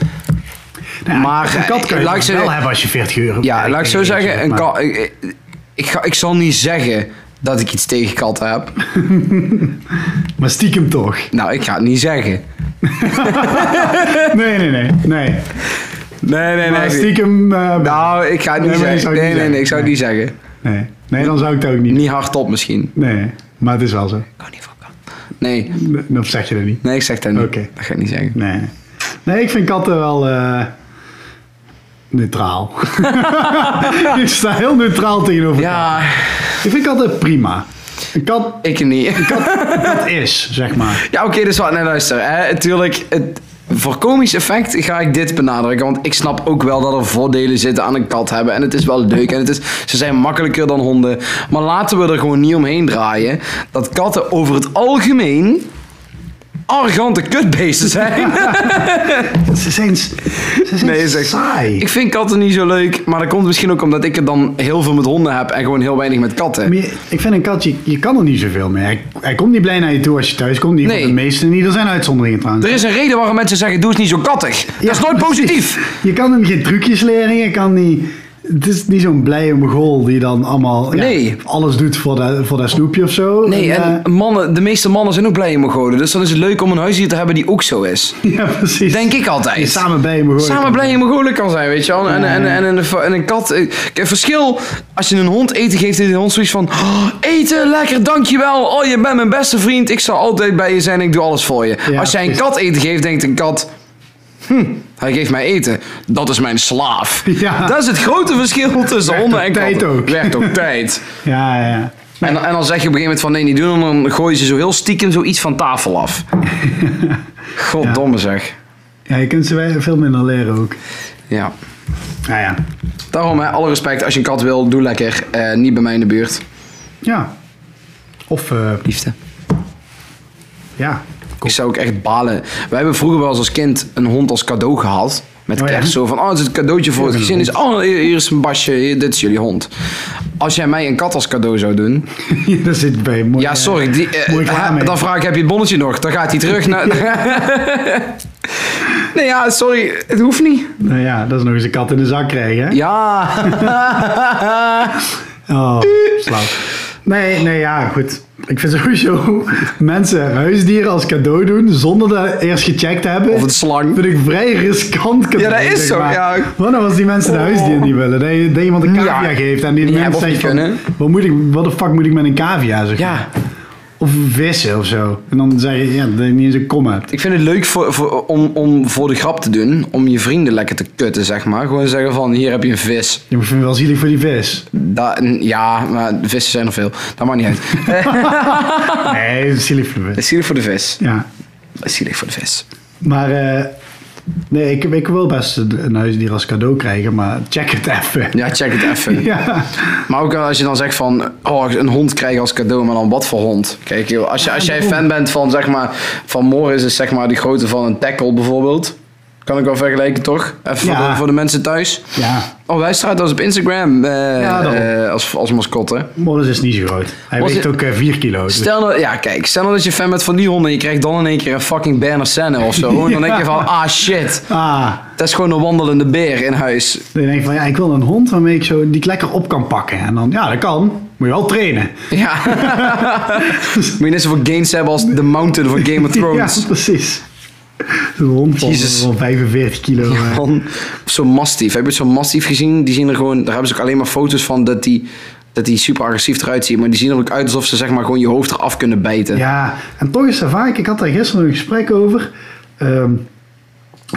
Speaker 2: ja,
Speaker 1: maar,
Speaker 2: een kat kan
Speaker 1: eh, laat
Speaker 2: je
Speaker 1: ik
Speaker 2: wel
Speaker 1: zeggen-
Speaker 2: hebben als je 40 euro
Speaker 1: Ja, laat ik zo zeggen. Een
Speaker 2: Maar-
Speaker 1: kat, ik, ik, ga, ik zal niet zeggen dat ik iets tegen katten heb.
Speaker 2: Maar stiekem toch?
Speaker 1: Nou, ik ga het niet zeggen.
Speaker 2: Nee, nee, nee. nee.
Speaker 1: Nee, nee,
Speaker 2: maar stiekem... eh,
Speaker 1: Nou, ik ga het niet
Speaker 2: Nee, maar
Speaker 1: zeggen.
Speaker 2: je zou
Speaker 1: Nee,
Speaker 2: het
Speaker 1: nee,
Speaker 2: niet
Speaker 1: nee, ik zou het niet
Speaker 2: zeggen.
Speaker 1: zeggen.
Speaker 2: nee. nee, dan zou ik het ook niet.
Speaker 1: Niet hardop misschien.
Speaker 2: Nee, maar het is wel zo.
Speaker 1: Ik kan niet van katten. Nee,
Speaker 2: Dat zeg je er niet.
Speaker 1: nee, ik zeg dat niet.
Speaker 2: Oké.
Speaker 1: Dat ga ik niet zeggen.
Speaker 2: Nee. Nee, ik vind katten wel... eh, neutraal. ik sta heel neutraal tegenover
Speaker 1: Ja,
Speaker 2: katten. Ik vind katten prima. Een kat,
Speaker 1: ik niet.
Speaker 2: kat is, zeg maar.
Speaker 1: Ja, oké, dus wat, nee, luister. Hè, natuurlijk, het, voor komisch effect ga ik dit benadrukken. Want ik snap ook wel dat er voordelen zitten aan een kat hebben. En het is wel leuk. En het is, ze zijn makkelijker dan honden. Maar laten we er gewoon niet omheen draaien. Dat katten over het algemeen arrogante kutbeesten zijn.
Speaker 2: Ze zijn, ze zijn
Speaker 1: Nee, is echt-
Speaker 2: saai.
Speaker 1: ik vind katten niet zo leuk. Maar dat komt misschien ook omdat ik het dan heel veel met honden heb. En gewoon heel weinig met katten.
Speaker 2: Maar je- ik vind een kat, je, je kan er niet zoveel mee. Hij, hij komt niet blij naar je toe als je thuis komt. Niet
Speaker 1: Nee.
Speaker 2: van de meeste niet. Er zijn uitzonderingen trouwens.
Speaker 1: Er is een reden waarom mensen zeggen, doe eens niet zo kattig. dat is
Speaker 2: Ja,
Speaker 1: nooit
Speaker 2: precies.
Speaker 1: positief.
Speaker 2: Je kan hem geen trucjes leren. Je kan niet... Het is niet zo'n blije mogol die dan allemaal ja,
Speaker 1: Nee.
Speaker 2: alles doet voor dat, voor dat snoepje of zo.
Speaker 1: Nee, en
Speaker 2: eh,
Speaker 1: mannen, de meeste mannen zijn ook blij in Mongolen. Dus dan is het leuk om een huisdier te hebben die ook zo is.
Speaker 2: eh, ja, precies.
Speaker 1: Denk ik
Speaker 2: Je
Speaker 1: altijd.
Speaker 2: samen bij hem
Speaker 1: Samen blij in Mongolen kan zijn, weet je wel. En, en, en, en, een, en een kat. eh, kijk, Het verschil, als je een hond eten geeft, heeft de hond zoiets van... "Oh, eten, lekker, dankjewel. Oh, je bent mijn beste vriend. Ik zal altijd bij je zijn. Ik doe alles voor je.
Speaker 2: Ja,
Speaker 1: als jij een
Speaker 2: precies.
Speaker 1: kat eten geeft, denkt een kat... Hm, hij geeft mij eten. Dat is mijn slaaf.
Speaker 2: Ja.
Speaker 1: Dat is het grote verschil tussen
Speaker 2: Werkt
Speaker 1: honden
Speaker 2: op
Speaker 1: en
Speaker 2: tijd
Speaker 1: katten.
Speaker 2: ook.
Speaker 1: Werkt op tijd.
Speaker 2: Ja, ja, ja.
Speaker 1: En, en dan zeg je op een gegeven moment van nee, niet doen. En dan gooi je ze zo heel stiekem zoiets van tafel af. Goddomme zeg.
Speaker 2: Ja, je kunt ze wel veel minder leren ook. Nou
Speaker 1: Ja.
Speaker 2: Ja, ja.
Speaker 1: Daarom, hè, alle respect. Als je een kat wil, doe lekker. Eh, niet bij mij in de buurt.
Speaker 2: ja. Of, eh,
Speaker 1: Liefde.
Speaker 2: ja.
Speaker 1: Ik zou ook echt balen. Wij hebben vroeger wel eens als kind een hond als cadeau gehad. Met
Speaker 2: Oh ja?
Speaker 1: kerst. Zo van, oh, het is een cadeautje voor het
Speaker 2: Ja,
Speaker 1: gezin. Is, oh, hier hier is een basje. Hier, dit is jullie hond. Als jij mij een kat als cadeau zou doen.
Speaker 2: Daar zit bij mooi,
Speaker 1: Ja,
Speaker 2: eh,
Speaker 1: sorry. Die, eh,
Speaker 2: mooi klaar
Speaker 1: hè,
Speaker 2: mee.
Speaker 1: dan vraag ik, heb je het bonnetje nog? Dan gaat hij terug naar... nee, ja, sorry. Het hoeft niet.
Speaker 2: Nou ja, dat is nog eens een kat in de zak krijgen, hè?
Speaker 1: Ja.
Speaker 2: Oh, slap. Nee, nee, ja, goed. Ik vind sowieso mensen huisdieren als cadeau doen zonder dat eerst gecheckt te hebben.
Speaker 1: Of een slang.
Speaker 2: Vind ik vrij riskant cadeau.
Speaker 1: Ja, dat is
Speaker 2: zeg
Speaker 1: zo,
Speaker 2: maar.
Speaker 1: ja.
Speaker 2: Want dan was die mensen de
Speaker 1: Oh.
Speaker 2: huisdieren niet willen. Dat, je, dat iemand een cavia
Speaker 1: Ja.
Speaker 2: geeft en die
Speaker 1: Niet
Speaker 2: mensen
Speaker 1: hebben of
Speaker 2: zegt
Speaker 1: niet kunnen.
Speaker 2: van, wat, moet ik, wat de fuck moet ik met een cavia? Zeg maar.
Speaker 1: ja.
Speaker 2: Of vissen of zo. En dan zeg je, ja, dat je niet eens een kom hebt.
Speaker 1: Ik vind het leuk voor, voor, om, om voor de grap te doen. Om je vrienden lekker te kutten, zeg maar. Gewoon zeggen van, hier heb je een vis.
Speaker 2: Je vindt wel zielig voor die vis.
Speaker 1: Da- ja, maar vissen zijn er veel. Dat maakt niet uit.
Speaker 2: Nee, zielig voor de
Speaker 1: Het
Speaker 2: vis.
Speaker 1: is zielig voor de vis.
Speaker 2: Ja.
Speaker 1: Het is zielig voor de vis.
Speaker 2: Maar eh, nee, ik, ik wil best een, een huisdier als cadeau krijgen, maar check het even.
Speaker 1: Ja, check het even.
Speaker 2: Ja.
Speaker 1: Maar ook als je dan zegt van, oh, een hond krijgen als cadeau, maar dan wat voor hond? Kijk, joh, als, je, als jij fan bent van, zeg maar, van Morris is zeg maar de grootte van een tackle bijvoorbeeld. Kan ik wel vergelijken, toch? Even
Speaker 2: Ja.
Speaker 1: voor, de, voor de mensen thuis.
Speaker 2: Ja,
Speaker 1: Oh, wij staan als op Instagram eh,
Speaker 2: Ja, daarom.
Speaker 1: eh, als, als mascotte.
Speaker 2: Morris is niet zo groot. Hij
Speaker 1: Was
Speaker 2: weegt
Speaker 1: het-
Speaker 2: ook eh, 4 kilo. dus-
Speaker 1: Stel nou, ja, kijk, stel nou dat je fan bent van die honden en je krijgt dan in één keer een fucking Berner Senne of zo. En dan denk je van, ah shit,
Speaker 2: Ah,
Speaker 1: dat is gewoon een wandelende beer in huis.
Speaker 2: dan denk ik van ja, ik wil een hond waarmee ik zo die ik lekker op kan pakken. En dan, ja, dat kan. Moet je wel trainen.
Speaker 1: Ja. Moet je net zoveel gains hebben als The Mountain van Game of Thrones.
Speaker 2: Ja, precies. Een hond van,
Speaker 1: Jezus.
Speaker 2: van 45 kilo. eh.
Speaker 1: Man, zo'n mastief. Heb je zo'n mastief gezien? Die zien er gewoon, daar hebben ze ook alleen maar foto's van dat die, dat die super agressief eruit zien. Maar die zien er ook uit alsof ze zeg maar gewoon je hoofd eraf kunnen bijten.
Speaker 2: Ja, en toch is er vaak, ik had daar gisteren een gesprek over. ehm,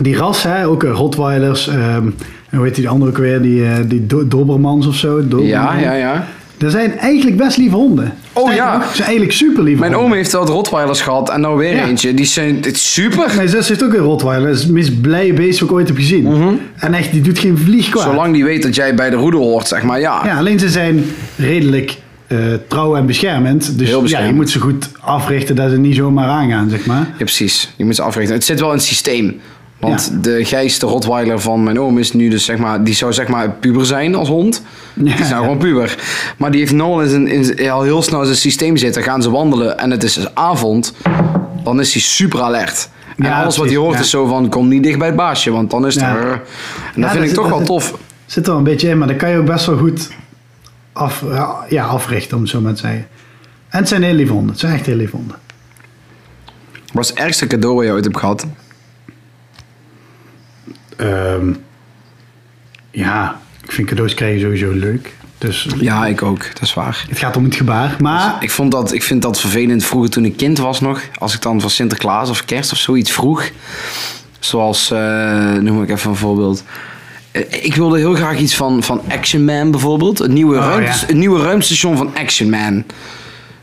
Speaker 2: die ras, hè, ook eh, Rottweilers, ehm, en hoe heet die andere ook weer, die, eh, die Do- Dobermans of zo. Doberman.
Speaker 1: ja, ja. ja.
Speaker 2: Er zijn eigenlijk best lieve honden.
Speaker 1: Oh,
Speaker 2: Sterker
Speaker 1: ja.
Speaker 2: nog, Ze zijn eigenlijk super lieve
Speaker 1: Mijn
Speaker 2: honden.
Speaker 1: oom heeft wel Rottweilers gehad en nou weer
Speaker 2: Ja.
Speaker 1: eentje. Die zijn dit is super.
Speaker 2: Mijn zus heeft ook een Rottweiler. Dat is het meest blije beest wat ik ooit heb gezien. En echt, die doet geen vlieg kwaad.
Speaker 1: Mhm. Zolang die weet dat jij bij de roede hoort, zeg maar. Ja.
Speaker 2: Ja, alleen ze zijn redelijk eh, trouw en beschermend. Dus
Speaker 1: Heel
Speaker 2: ja, je
Speaker 1: beschermend.
Speaker 2: moet ze goed africhten dat ze niet zomaar aangaan, zeg maar.
Speaker 1: Ja, precies. Je moet ze africhten. Het zit wel in het systeem. Want
Speaker 2: Ja.
Speaker 1: de Gijs, de Rottweiler van mijn oom, is nu dus zeg maar... Die zou zeg maar puber zijn als hond. Die is
Speaker 2: Ja.
Speaker 1: nou gewoon puber. Maar die heeft nu al, in zijn- in zijn- al heel snel in zijn systeem zitten. Gaan ze wandelen en het is dus avond. Dan is hij super alert. En
Speaker 2: Ja,
Speaker 1: alles wat
Speaker 2: precies,
Speaker 1: hij hoort
Speaker 2: ja.
Speaker 1: is zo van... Kom niet dicht bij het baasje, want dan is het...
Speaker 2: Ja.
Speaker 1: er- En dat
Speaker 2: Ja,
Speaker 1: vind
Speaker 2: dat
Speaker 1: ik
Speaker 2: is-
Speaker 1: toch
Speaker 2: dat
Speaker 1: wel
Speaker 2: is-
Speaker 1: tof.
Speaker 2: Zit er wel een beetje in, maar dan kan je ook best wel goed af, ja, africhten, om het zo maar te zeggen. En het zijn heel lieve honden. Het zijn echt heel lieve honden.
Speaker 1: Wat is het ergste cadeau wat je ooit hebt gehad?
Speaker 2: Ehm, ja, ik vind cadeaus krijgen sowieso leuk. Dus
Speaker 1: Ja, ik ook. Dat is waar.
Speaker 2: het gaat om het gebaar. Maar
Speaker 1: Ik, vond dat, ik vind dat vervelend vroeger toen ik kind was nog. Als ik dan van Sinterklaas of kerst of zoiets vroeg. Zoals, eh, noem ik even een voorbeeld. Eh, Ik wilde heel graag iets van, van Action Man bijvoorbeeld. Het nieuwe,
Speaker 2: Oh,
Speaker 1: ruimtes-
Speaker 2: ja.
Speaker 1: het nieuwe ruimtestation van Action Man.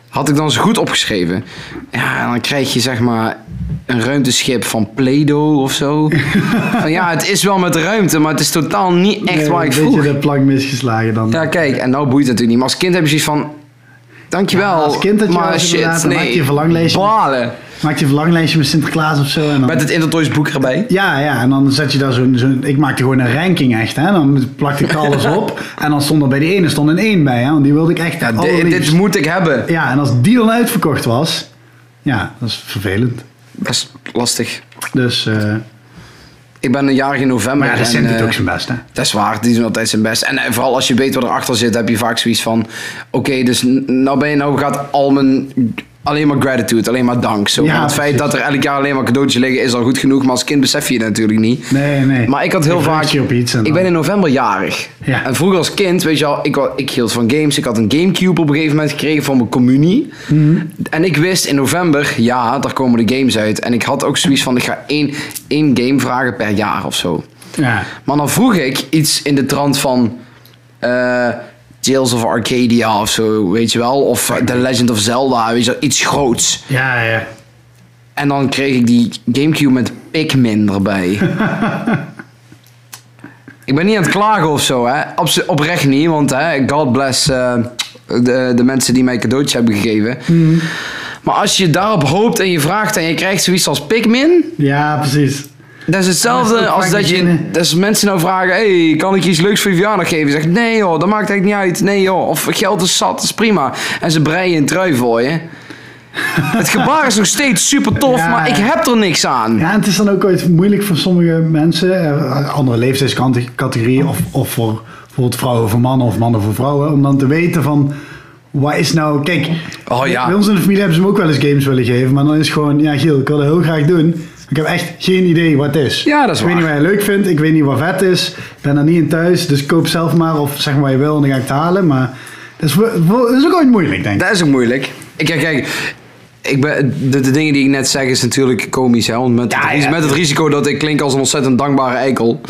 Speaker 1: Had ik dan eens goed opgeschreven. Ja, en dan krijg je zeg maar een ruimteschip van Play-Doh of zo. van ja, het is wel met ruimte, maar het is totaal niet echt
Speaker 2: Nee,
Speaker 1: waar ik
Speaker 2: een
Speaker 1: vroeg.
Speaker 2: beetje de plank misgeslagen dan.
Speaker 1: Ja, kijk, en nou boeit het natuurlijk niet. Maar als kind heb je zoiets van... Dankjewel,
Speaker 2: Ja, als kind had je wel
Speaker 1: maar
Speaker 2: eens
Speaker 1: shit,
Speaker 2: inderdaad, dan
Speaker 1: nee.
Speaker 2: maak je een verlanglijstje.
Speaker 1: Balen.
Speaker 2: Maak je een verlanglijstje met Sinterklaas of zo. En dan...
Speaker 1: Met het Intertoys boek erbij.
Speaker 2: Ja, ja, en dan zet je daar zo'n... zo'n- ik maakte gewoon een ranking echt, hè. Dan plakte ik alles op. En dan stond er bij de ene stond een 1 bij, hè. Want die wilde ik echt
Speaker 1: Ja,
Speaker 2: ja,
Speaker 1: di- dit moet ik hebben.
Speaker 2: Ja, en als die dan uitverkocht was... Ja, dat is vervelend.
Speaker 1: Dat is lastig.
Speaker 2: Dus... eh,
Speaker 1: Ik ben een jarig in november.
Speaker 2: maar ja, de
Speaker 1: en,
Speaker 2: Sint doet
Speaker 1: eh,
Speaker 2: ook zijn best, hè.
Speaker 1: Dat is waar, die doen altijd zijn best. En eh, vooral als je weet wat erachter zit, heb je vaak zoiets van... Oké, dus n- nou, ben je, nou gaat al mijn... Alleen maar gratitude, alleen maar dank. Zo.
Speaker 2: Ja,
Speaker 1: Want het feit
Speaker 2: precies.
Speaker 1: dat er elk jaar alleen maar cadeautjes liggen is al goed genoeg. Maar als kind besef je dat natuurlijk niet.
Speaker 2: Nee, nee.
Speaker 1: Maar ik had heel
Speaker 2: Je verheugt
Speaker 1: vaak.
Speaker 2: je op iets en
Speaker 1: ik
Speaker 2: dan-
Speaker 1: ben in november jarig.
Speaker 2: Ja.
Speaker 1: En vroeger als kind, weet je al, ik, wa- ik hield van games. Ik had een Gamecube op een gegeven moment gekregen van mijn communie.
Speaker 2: Mhm.
Speaker 1: En ik wist in november, ja, daar komen de games uit. En ik had ook zoiets van: ik ga één, één game vragen per jaar of zo.
Speaker 2: Ja.
Speaker 1: Maar dan vroeg ik iets in de trant van. eh Tales of Arcadia of zo, weet je wel. Of eh, The Legend of Zelda, weet je wel. Iets groots.
Speaker 2: Ja, ja.
Speaker 1: En dan kreeg ik die Gamecube met Pikmin erbij. ik ben niet aan het klagen of zo, hè. Abso- oprecht niet, want hè, God bless eh, de, de mensen die mij cadeautjes hebben gegeven. Maar als je daarop hoopt en je vraagt en je krijgt zoiets als Pikmin...
Speaker 2: Ja, precies.
Speaker 1: Dat is hetzelfde
Speaker 2: Ja, dat is ook
Speaker 1: als
Speaker 2: vaak
Speaker 1: dat je...
Speaker 2: beginnen.
Speaker 1: dat is mensen nou vragen... hey, kan ik je iets leuks voor je verjaardag geven? Je zegt, nee joh, dat maakt eigenlijk niet uit. Nee joh, of geld is zat, dat is prima. En ze breien een trui voor je. Het gebaar is nog steeds super tof,
Speaker 2: Ja,
Speaker 1: maar ik
Speaker 2: ja.
Speaker 1: heb er niks aan.
Speaker 2: Ja, en het is dan ook ooit moeilijk voor sommige mensen, eh, andere leeftijdscategorieën, of, of voor bijvoorbeeld vrouwen voor mannen of mannen voor vrouwen, om dan te weten van, wat is nou, kijk,
Speaker 1: Oh, ja.
Speaker 2: bij ons in de familie hebben ze me ook wel eens games willen geven, maar dan is het gewoon, ja Giel, ik wil dat heel graag doen, maar ik heb echt geen idee wat het is.
Speaker 1: Ja, dat is
Speaker 2: Ik weet
Speaker 1: waar.
Speaker 2: niet wat je leuk vindt, ik weet niet wat vet is, ik ben er niet in thuis, dus koop zelf maar of zeg maar wat je wil en dan ga ik het halen, maar dat is, wel- wel- dat is ook ooit moeilijk, denk ik.
Speaker 1: Dat is ook moeilijk. Ik, kijk, kijk ik ben, de, de dingen die ik net zeg is natuurlijk komisch. Hè? Want met,
Speaker 2: Ja,
Speaker 1: het, ris-
Speaker 2: ja.
Speaker 1: met het risico dat ik klink als een ontzettend dankbare eikel.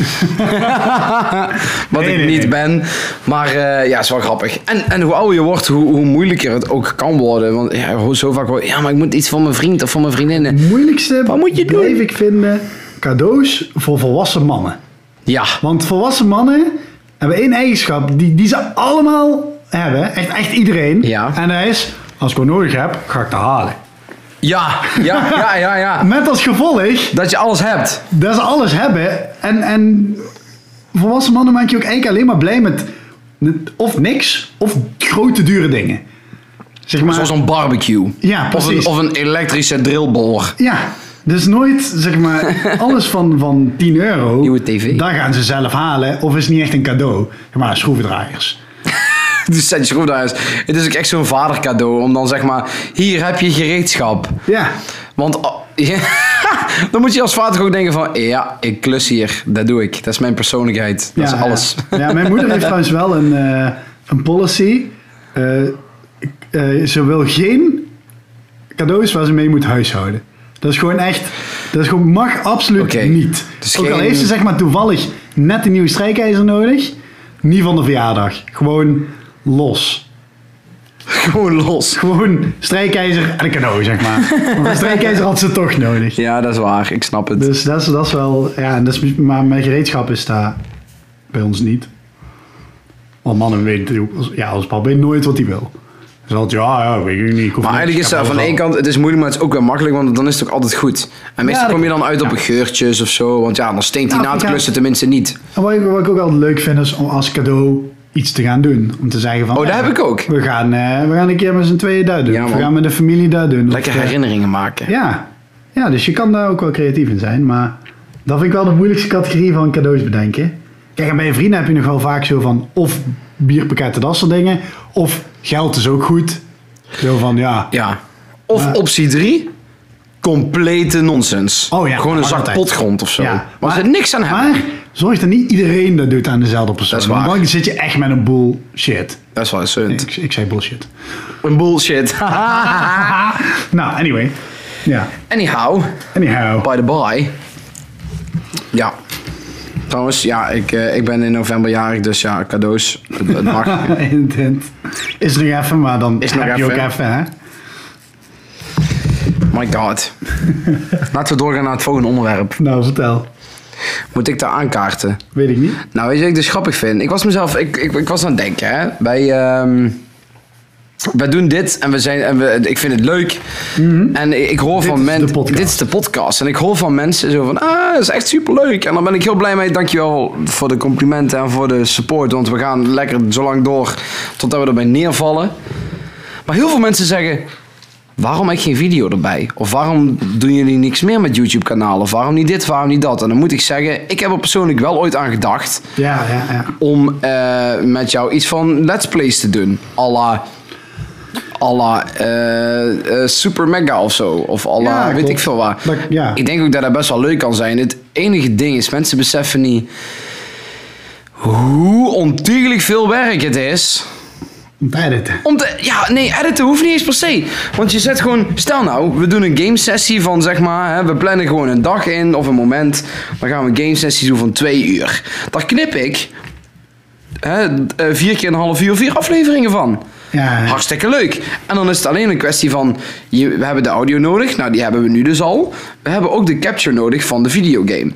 Speaker 1: Wat
Speaker 2: Nee,
Speaker 1: ik
Speaker 2: nee,
Speaker 1: niet
Speaker 2: nee.
Speaker 1: ben. Maar eh, ja, is wel grappig. En, en hoe ouder je wordt, hoe, hoe moeilijker het ook kan worden. Want ja, ho- zo vaak hoor je, ja, maar ik moet iets voor mijn vriend of voor mijn vriendinnen.
Speaker 2: moeilijkste
Speaker 1: Wat moet je doen?
Speaker 2: bleef ik vinden cadeaus voor volwassen mannen.
Speaker 1: Ja,
Speaker 2: Want volwassen mannen hebben één eigenschap die, die ze allemaal hebben. Echt, echt iedereen.
Speaker 1: Ja.
Speaker 2: En dat is, als ik wat nodig heb, ga ik dat halen.
Speaker 1: Ja, ja, ja, ja, ja.
Speaker 2: Met als gevolg
Speaker 1: Dat je alles hebt.
Speaker 2: dat ze alles hebben. En, en volwassen mannen maak je ook eigenlijk alleen maar blij met met of niks of grote dure dingen. Zeg maar.
Speaker 1: Zoals een barbecue.
Speaker 2: Ja,
Speaker 1: Of een,
Speaker 2: precies.
Speaker 1: of een elektrische drillboor.
Speaker 2: Ja, dus nooit zeg maar alles van, van 10 euro.
Speaker 1: Nieuwe TV.
Speaker 2: Daar gaan ze zelf halen of is niet echt een cadeau. Zeg maar schroevendraaiers.
Speaker 1: Dus zet je schroefdraaiers. Het is ook echt zo'n vadercadeau. Om dan zeg maar, hier heb je gereedschap.
Speaker 2: Ja,
Speaker 1: Want oh, ja, dan moet je als vader ook denken van... Ja, ik klus hier. Dat doe ik. Dat is mijn persoonlijkheid. Dat
Speaker 2: ja,
Speaker 1: is alles.
Speaker 2: Ja. Ja, mijn moeder heeft trouwens wel een, eh, een policy. Eh, eh, ze wil geen cadeaus waar ze mee moet huishouden. Dat is gewoon echt. Dat is gewoon, mag absoluut
Speaker 1: Oké.
Speaker 2: niet.
Speaker 1: Dus
Speaker 2: Ook al
Speaker 1: geen-
Speaker 2: heeft ze zeg maar toevallig net een nieuwe strijkijzer nodig. Niet van de verjaardag. Gewoon los.
Speaker 1: Gewoon los.
Speaker 2: Gewoon strijkijzer en een cadeau, zeg maar. Want een strijkijzer had ze toch nodig.
Speaker 1: Ja, dat is waar. Ik snap het.
Speaker 2: Dus dat is, dat is wel... Ja, en dat is, maar mijn gereedschap is daar bij ons niet. Want mannen weten... Ja, ons pap weet nooit wat hij wil. Dus altijd, ja, ja, weet ik niet. ik hoef
Speaker 1: Maar
Speaker 2: niks,
Speaker 1: eigenlijk is
Speaker 2: ik heb
Speaker 1: dat van
Speaker 2: alles
Speaker 1: één
Speaker 2: al.
Speaker 1: kant, het is moeilijk, maar het is ook wel makkelijk, want dan is het ook altijd goed. En meestal
Speaker 2: dat
Speaker 1: kom je dan uit op
Speaker 2: ja.
Speaker 1: een geurtjes of zo, want ja, dan steent die
Speaker 2: Ja,
Speaker 1: na het
Speaker 2: ja.
Speaker 1: klussen tenminste niet.
Speaker 2: En wat ik, wat ik ook altijd leuk vind, is om als cadeau iets te gaan doen. Om te zeggen van...
Speaker 1: Oh, dat
Speaker 2: eh,
Speaker 1: heb ik ook.
Speaker 2: We gaan, eh, we gaan een keer met z'n tweeën daar doen.
Speaker 1: Ja,
Speaker 2: we
Speaker 1: man.
Speaker 2: gaan met de familie daar doen. Of,
Speaker 1: Lekker
Speaker 2: eh,
Speaker 1: herinneringen maken.
Speaker 2: Ja. ja, dus je kan daar ook wel creatief in zijn. Maar dat vind ik wel de moeilijkste categorie van cadeaus bedenken. Kijk, en bij je vrienden heb je nog wel vaak zo van... of bierpakketten, dat soort dingen. Of geld is ook goed. Zo van, ja...
Speaker 1: Ja. Of optie 3, complete nonsens.
Speaker 2: Oh ja,
Speaker 1: Gewoon een
Speaker 2: maar
Speaker 1: zak
Speaker 2: altijd.
Speaker 1: potgrond of zo.
Speaker 2: Ja,
Speaker 1: maar,
Speaker 2: maar-
Speaker 1: er zit niks aan hebben.
Speaker 2: Maar zorg dat niet iedereen dat doet aan dezelfde persoon.
Speaker 1: Dat is waar.
Speaker 2: Want Dan zit je echt met een bullshit.
Speaker 1: Dat is wel een zunt.
Speaker 2: Ik, ik zei bullshit.
Speaker 1: Een bullshit.
Speaker 2: Nou, anyway. Ja,
Speaker 1: Anyhow,
Speaker 2: anyhow.
Speaker 1: by the by. Ja. Trouwens, ja, ik, eh, ik ben in november jarig, dus ja, cadeaus. Het, het mag.
Speaker 2: Intent. Is nog even, maar dan
Speaker 1: Is nog
Speaker 2: heb je
Speaker 1: even.
Speaker 2: ook even, hè?
Speaker 1: My god. Laten we doorgaan naar het volgende onderwerp.
Speaker 2: Nou, vertel.
Speaker 1: Moet ik daar aankaarten?
Speaker 2: Weet ik niet.
Speaker 1: Nou, weet je wat ik dus grappig vind? Ik was mezelf... Ik, ik, ik was aan het denken, hè. Wij, ehm, wij doen dit en, we zijn, en we, ik vind het leuk. En ik, ik hoor
Speaker 2: Mhm. Dit
Speaker 1: van
Speaker 2: is de
Speaker 1: mensen...
Speaker 2: podcast.
Speaker 1: Dit is de podcast. En ik hoor van mensen zo van... Ah, dat is echt superleuk. En dan ben ik heel blij mee. Dankjewel voor de complimenten en voor de support. Want we gaan lekker zo lang door totdat we erbij neervallen. Maar heel veel mensen zeggen... Waarom heb ik geen video erbij? Of waarom doen jullie niks meer met YouTube-kanalen? Of waarom niet dit, waarom niet dat? En dan moet ik zeggen, ik heb er persoonlijk wel ooit aan gedacht
Speaker 2: Ja, ja, ja.
Speaker 1: om eh, met jou iets van Let's Plays te doen. à la, à la, eh, eh, Super Mega of zo. Of à la,
Speaker 2: Ja,
Speaker 1: weet
Speaker 2: klopt.
Speaker 1: ik veel waar.
Speaker 2: Dat- ja.
Speaker 1: Ik denk ook dat dat best wel leuk kan zijn. Het enige ding is, mensen beseffen niet hoe ontiegelijk veel werk het is.
Speaker 2: Om te editen.
Speaker 1: Om te, ja, nee, editen hoeft niet eens per se. Want je zet gewoon, stel nou, we doen een gamesessie van zeg maar, hè, we plannen gewoon een dag in of een moment. Dan gaan we een gamesessie doen van twee uur. Daar knip ik hè, eh, vier keer een half uur, vier afleveringen van.
Speaker 2: Ja, ja.
Speaker 1: Hartstikke leuk. En dan is het alleen een kwestie van, je, we hebben de audio nodig, nou die hebben we nu dus al. We hebben ook de capture nodig van de videogame.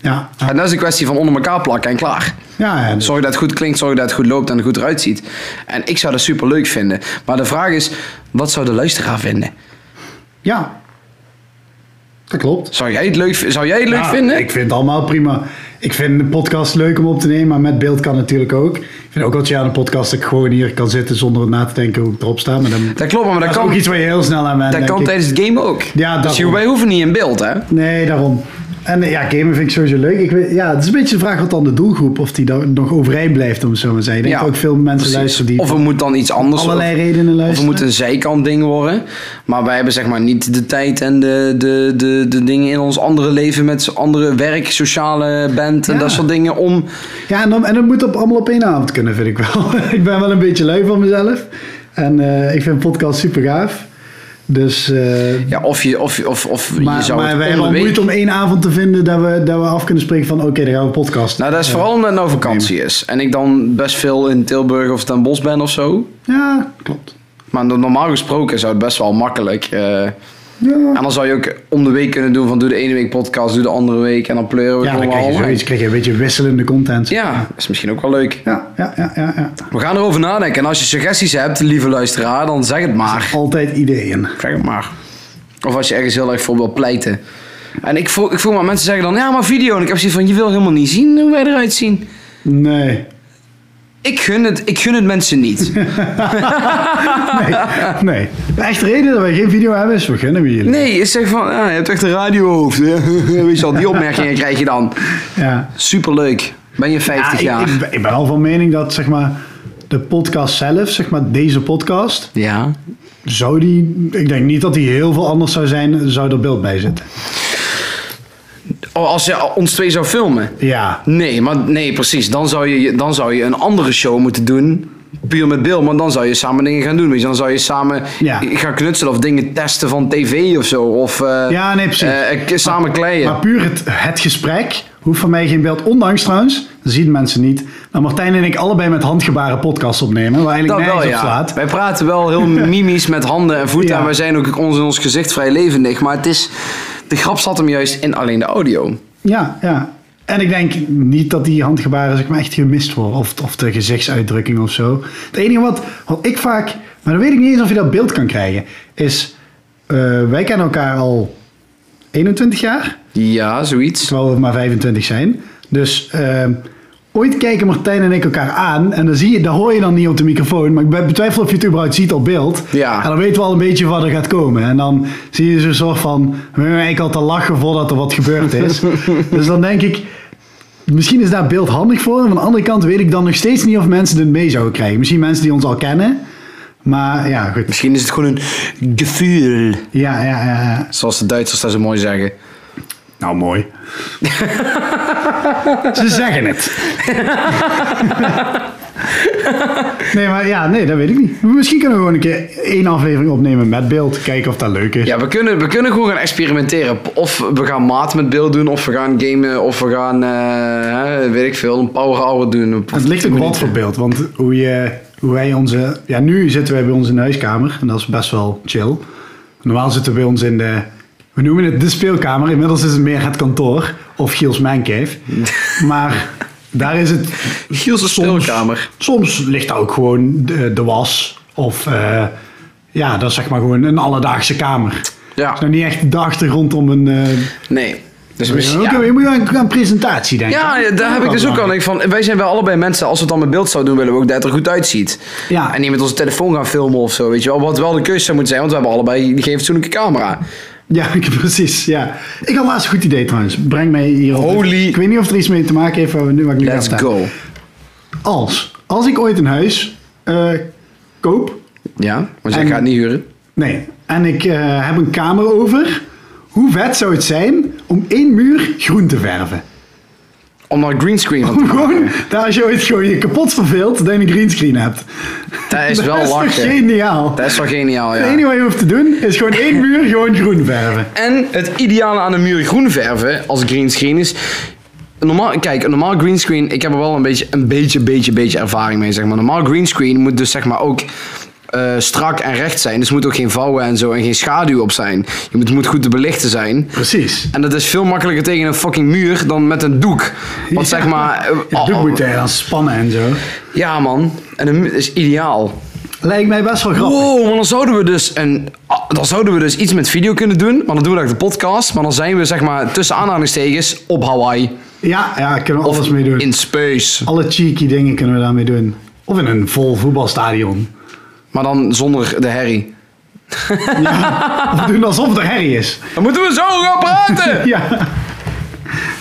Speaker 2: Ja,
Speaker 1: En dat is een kwestie van onder elkaar plakken en klaar.
Speaker 2: ja, ja, dus-
Speaker 1: Zorg dat het goed klinkt, zorg dat het goed loopt en er goed eruit ziet. En ik zou dat super leuk vinden. Maar de vraag is, wat zou de luisteraar vinden?
Speaker 2: ja. Dat klopt.
Speaker 1: Zou jij het leuk, vi- zou jij het leuk
Speaker 2: Ja,
Speaker 1: vinden?
Speaker 2: Ik vind het allemaal prima. Ik vind de podcast leuk om op te nemen, maar met beeld kan natuurlijk ook. Ik vind ook altijd aan een podcast dat ik gewoon hier kan zitten zonder na te denken hoe ik erop sta. Maar dan,
Speaker 1: Dat klopt, maar dat,
Speaker 2: dat is
Speaker 1: kan,
Speaker 2: ook iets waar je heel snel aan bent.
Speaker 1: dat kan tijdens het game ook.
Speaker 2: Ja,
Speaker 1: dus je-
Speaker 2: daarom.
Speaker 1: wij hoeven niet in beeld, hè?
Speaker 2: Nee, daarom. En eh, ja, gamen vind ik sowieso leuk. Ik weet, ja, het is een beetje de vraag wat dan de doelgroep, of die dan nog overeind blijft, om het zo maar te zeggen. Ik denk
Speaker 1: Ja,
Speaker 2: ook veel mensen
Speaker 1: precies.
Speaker 2: luisteren die
Speaker 1: Of we moeten dan iets anders
Speaker 2: om allerlei
Speaker 1: of-
Speaker 2: redenen
Speaker 1: Of we
Speaker 2: luisteren.
Speaker 1: moeten een zijkant ding worden. Maar wij hebben zeg maar niet de tijd en de, de, de, de dingen in ons andere leven met andere werk, sociale band en
Speaker 2: Ja.
Speaker 1: dat soort dingen om...
Speaker 2: Ja, en, dan, en dat moet op, allemaal op één avond kunnen, vind ik wel. ik ben wel een beetje lui van mezelf. En eh, ik vind podcast super gaaf. Dus eh,
Speaker 1: Ja, of je, of, je- of, of je
Speaker 2: maar,
Speaker 1: zou
Speaker 2: maar
Speaker 1: het
Speaker 2: wij
Speaker 1: om de
Speaker 2: hebben al
Speaker 1: week-
Speaker 2: moeite om één avond te vinden dat we, dat we af kunnen spreken van oké, dan gaan we podcast.
Speaker 1: Nou, dat is vooral omdat het nou vakantie is. En ik dan best veel in Tilburg of Den Bosch ben of zo.
Speaker 2: Ja, klopt.
Speaker 1: Maar no- normaal gesproken zou het best wel makkelijk. eh,
Speaker 2: Ja,
Speaker 1: en dan zou je ook om de week kunnen doen van doe de ene week podcast, doe de andere week. En dan pleuren we
Speaker 2: ja dan
Speaker 1: gewoon
Speaker 2: krijg je
Speaker 1: allemaal.
Speaker 2: zoiets, krijg je een beetje wisselende content.
Speaker 1: Ja, dat is misschien ook wel leuk.
Speaker 2: Ja, ja, ja, ja. ja.
Speaker 1: We gaan erover nadenken. En als je suggesties hebt, lieve luisteraar, dan zeg het maar.
Speaker 2: Altijd ideeën.
Speaker 1: Zeg het maar. Of als je ergens heel erg voor wil pleiten. En ik voel, ik voel maar mensen zeggen dan, ja maar video. En ik heb zoiets van, je wil helemaal niet zien hoe wij eruit zien.
Speaker 2: Nee.
Speaker 1: Ik gun het, ik gun het mensen niet.
Speaker 2: Nee. nee. De echte reden dat wij geen video hebben is, we gunnen we jullie.
Speaker 1: Ah. Nee, ik zeg van, ah, je hebt echt een radiohoofd. hè. Weet je al, die opmerkingen krijg je dan.
Speaker 2: Ja.
Speaker 1: Superleuk. Ben je 50
Speaker 2: Ja,
Speaker 1: jaar?
Speaker 2: ik, ik, ben- ik ben wel van mening dat zeg maar, de podcast zelf, zeg maar, deze podcast,
Speaker 1: Ja.
Speaker 2: zou die, ik denk niet dat die heel veel anders zou zijn, zou er beeld bij zitten.
Speaker 1: Oh, als je ons twee zou filmen.
Speaker 2: Ja,
Speaker 1: Nee, maar nee, precies. Dan zou, je, dan zou je een andere show moeten doen. Puur met Bill, maar dan zou je samen dingen gaan doen. Weet je? Dan zou je samen
Speaker 2: Ja.
Speaker 1: gaan knutselen of dingen testen van tv of zo. Of eh,
Speaker 2: Ja, nee, precies.
Speaker 1: eh, k- samen kleien.
Speaker 2: maar puur het, het gesprek hoeft van mij geen beeld. Ondanks trouwens, dat zien mensen niet, dat Martijn en ik allebei met handgebaren podcasts opnemen, waar
Speaker 1: dat
Speaker 2: eigenlijk
Speaker 1: wel,
Speaker 2: nergens op
Speaker 1: ja.
Speaker 2: slaat.
Speaker 1: Wij praten wel heel mimisch met handen en voeten.
Speaker 2: Ja.
Speaker 1: En wij zijn ook ons in ons gezicht vrij levendig. Maar het is, de grap zat hem juist in alleen de audio.
Speaker 2: Ja, ja. En ik denk niet dat die handgebaren zeg maar, echt gemist worden. Of, of de gezichtsuitdrukking of zo. Het enige wat, wat ik vaak... Maar dan weet ik niet eens of je dat beeld kan krijgen. Is, eh, wij kennen elkaar al 21 jaar.
Speaker 1: Ja, zoiets.
Speaker 2: Terwijl we maar 25 zijn. Dus eh, ooit kijken Martijn en ik elkaar aan. En dan zie je, dat hoor je dan niet op de microfoon. Maar ik ben- betwijfel of je het überhaupt ziet op beeld.
Speaker 1: Ja.
Speaker 2: En dan weten we al een beetje wat er gaat komen. En dan zie je zo'n soort van... We hebben eigenlijk al te lachen voordat er wat gebeurd is. dus dan denk ik... Misschien is daar beeld handig voor. Maar aan de andere kant weet ik dan nog steeds niet of mensen dit mee zouden krijgen. Misschien mensen die ons al kennen. Maar ja, goed.
Speaker 1: Misschien is het gewoon een gevoel.
Speaker 2: Ja, ja, ja. ja.
Speaker 1: Zoals de Duitsers dat zo mooi zeggen.
Speaker 2: Nou, mooi. Ze zeggen het. nee, maar ja, nee, dat weet ik niet. Misschien kunnen we gewoon een keer één aflevering opnemen met beeld. Kijken of dat leuk is.
Speaker 1: Ja, we kunnen, we kunnen gewoon gaan experimenteren. Of we gaan maat met beeld doen, of we gaan gamen, of we gaan, eh, weet ik veel, een power hour doen.
Speaker 2: Het ligt ook wat voor beeld. Want hoe, je, hoe wij onze... Ja, nu zitten wij bij ons in de huiskamer. En dat is best wel chill. Normaal zitten we bij ons in de... We noemen het de speelkamer. Inmiddels is het meer het kantoor. Of Giels mijn cave. Maar daar is het
Speaker 1: Giels' speelkamer.
Speaker 2: Soms ligt daar ook gewoon de, de was. Of eh, ja, dat is zeg maar gewoon een alledaagse kamer. Het is
Speaker 1: Ja,
Speaker 2: nou niet echt de achtergrond om een... eh
Speaker 1: nee. Dus
Speaker 2: je
Speaker 1: misschien,
Speaker 2: moet
Speaker 1: ja.
Speaker 2: ook- je moet wel aan aan presentatie denken.
Speaker 1: Ja, ja, daar heb ik dus ook aan. Ik van, wij zijn wel allebei mensen, als we het dan met beeld zouden doen, willen we ook dat het er goed uitziet.
Speaker 2: Ja.
Speaker 1: En niet met onze telefoon gaan filmen of zo, weet je wel. Wat wel de keuze zou moeten zijn, want we hebben allebei geen fatsoenlijke camera.
Speaker 2: Ja, ik- precies. Ja. Ik had laatst een goed idee trouwens. Breng mij hier op.
Speaker 1: Holy-
Speaker 2: Ik weet niet of het er iets mee te maken heeft waar we nu, waar ik nu
Speaker 1: Let's
Speaker 2: ga
Speaker 1: go.
Speaker 2: Als, als ik ooit een huis eh, koop...
Speaker 1: Ja, maar jij
Speaker 2: En-
Speaker 1: gaat het niet huren.
Speaker 2: Nee. En ik eh, heb een kamer over. Hoe vet zou het zijn om één muur groen te verven?
Speaker 1: Om naar een greenscreen van te
Speaker 2: Gewoon, daar als je ooit gewoon je kapot verveelt, dat je een greenscreen hebt.
Speaker 1: Dat is wel
Speaker 2: dat is toch
Speaker 1: lachen.
Speaker 2: geniaal?
Speaker 1: Dat is wel geniaal,
Speaker 2: Het
Speaker 1: ja.
Speaker 2: enige wat je hoeft te doen, is gewoon één muur gewoon groen verven.
Speaker 1: En het ideale aan een muur groen verven als greenscreen is. een Normaal, kijk, een normaal greenscreen, ik heb er wel een beetje, een beetje, beetje, beetje ervaring mee. Zeg maar. Normaal greenscreen moet dus zeg maar ook eh, strak en recht zijn. Dus er moet ook geen vouwen en zo en geen schaduw op zijn. Je moet, moet goed te belichten zijn.
Speaker 2: Precies.
Speaker 1: En dat is veel makkelijker tegen een fucking muur dan met een doek. Want zeg maar. eh,
Speaker 2: Ja, doek moet je dan spannen en zo.
Speaker 1: ja man, en een muur is ideaal.
Speaker 2: Lijkt mij best wel grappig.
Speaker 1: Wow, maar dan zouden we dus een, ah, dan zouden we dus iets met video kunnen doen. Maar dan doen we dat de podcast. Maar dan zijn we zeg maar tussen aanhalingstekens op Hawaii.
Speaker 2: Ja, ja, kunnen we alles mee doen.
Speaker 1: In space.
Speaker 2: Alle cheeky dingen kunnen we daarmee doen. Of in een vol voetbalstadion.
Speaker 1: Maar dan zonder de herrie.
Speaker 2: Of we doen alsof er herrie is.
Speaker 1: Dan moeten we zo gaan praten!
Speaker 2: Ja.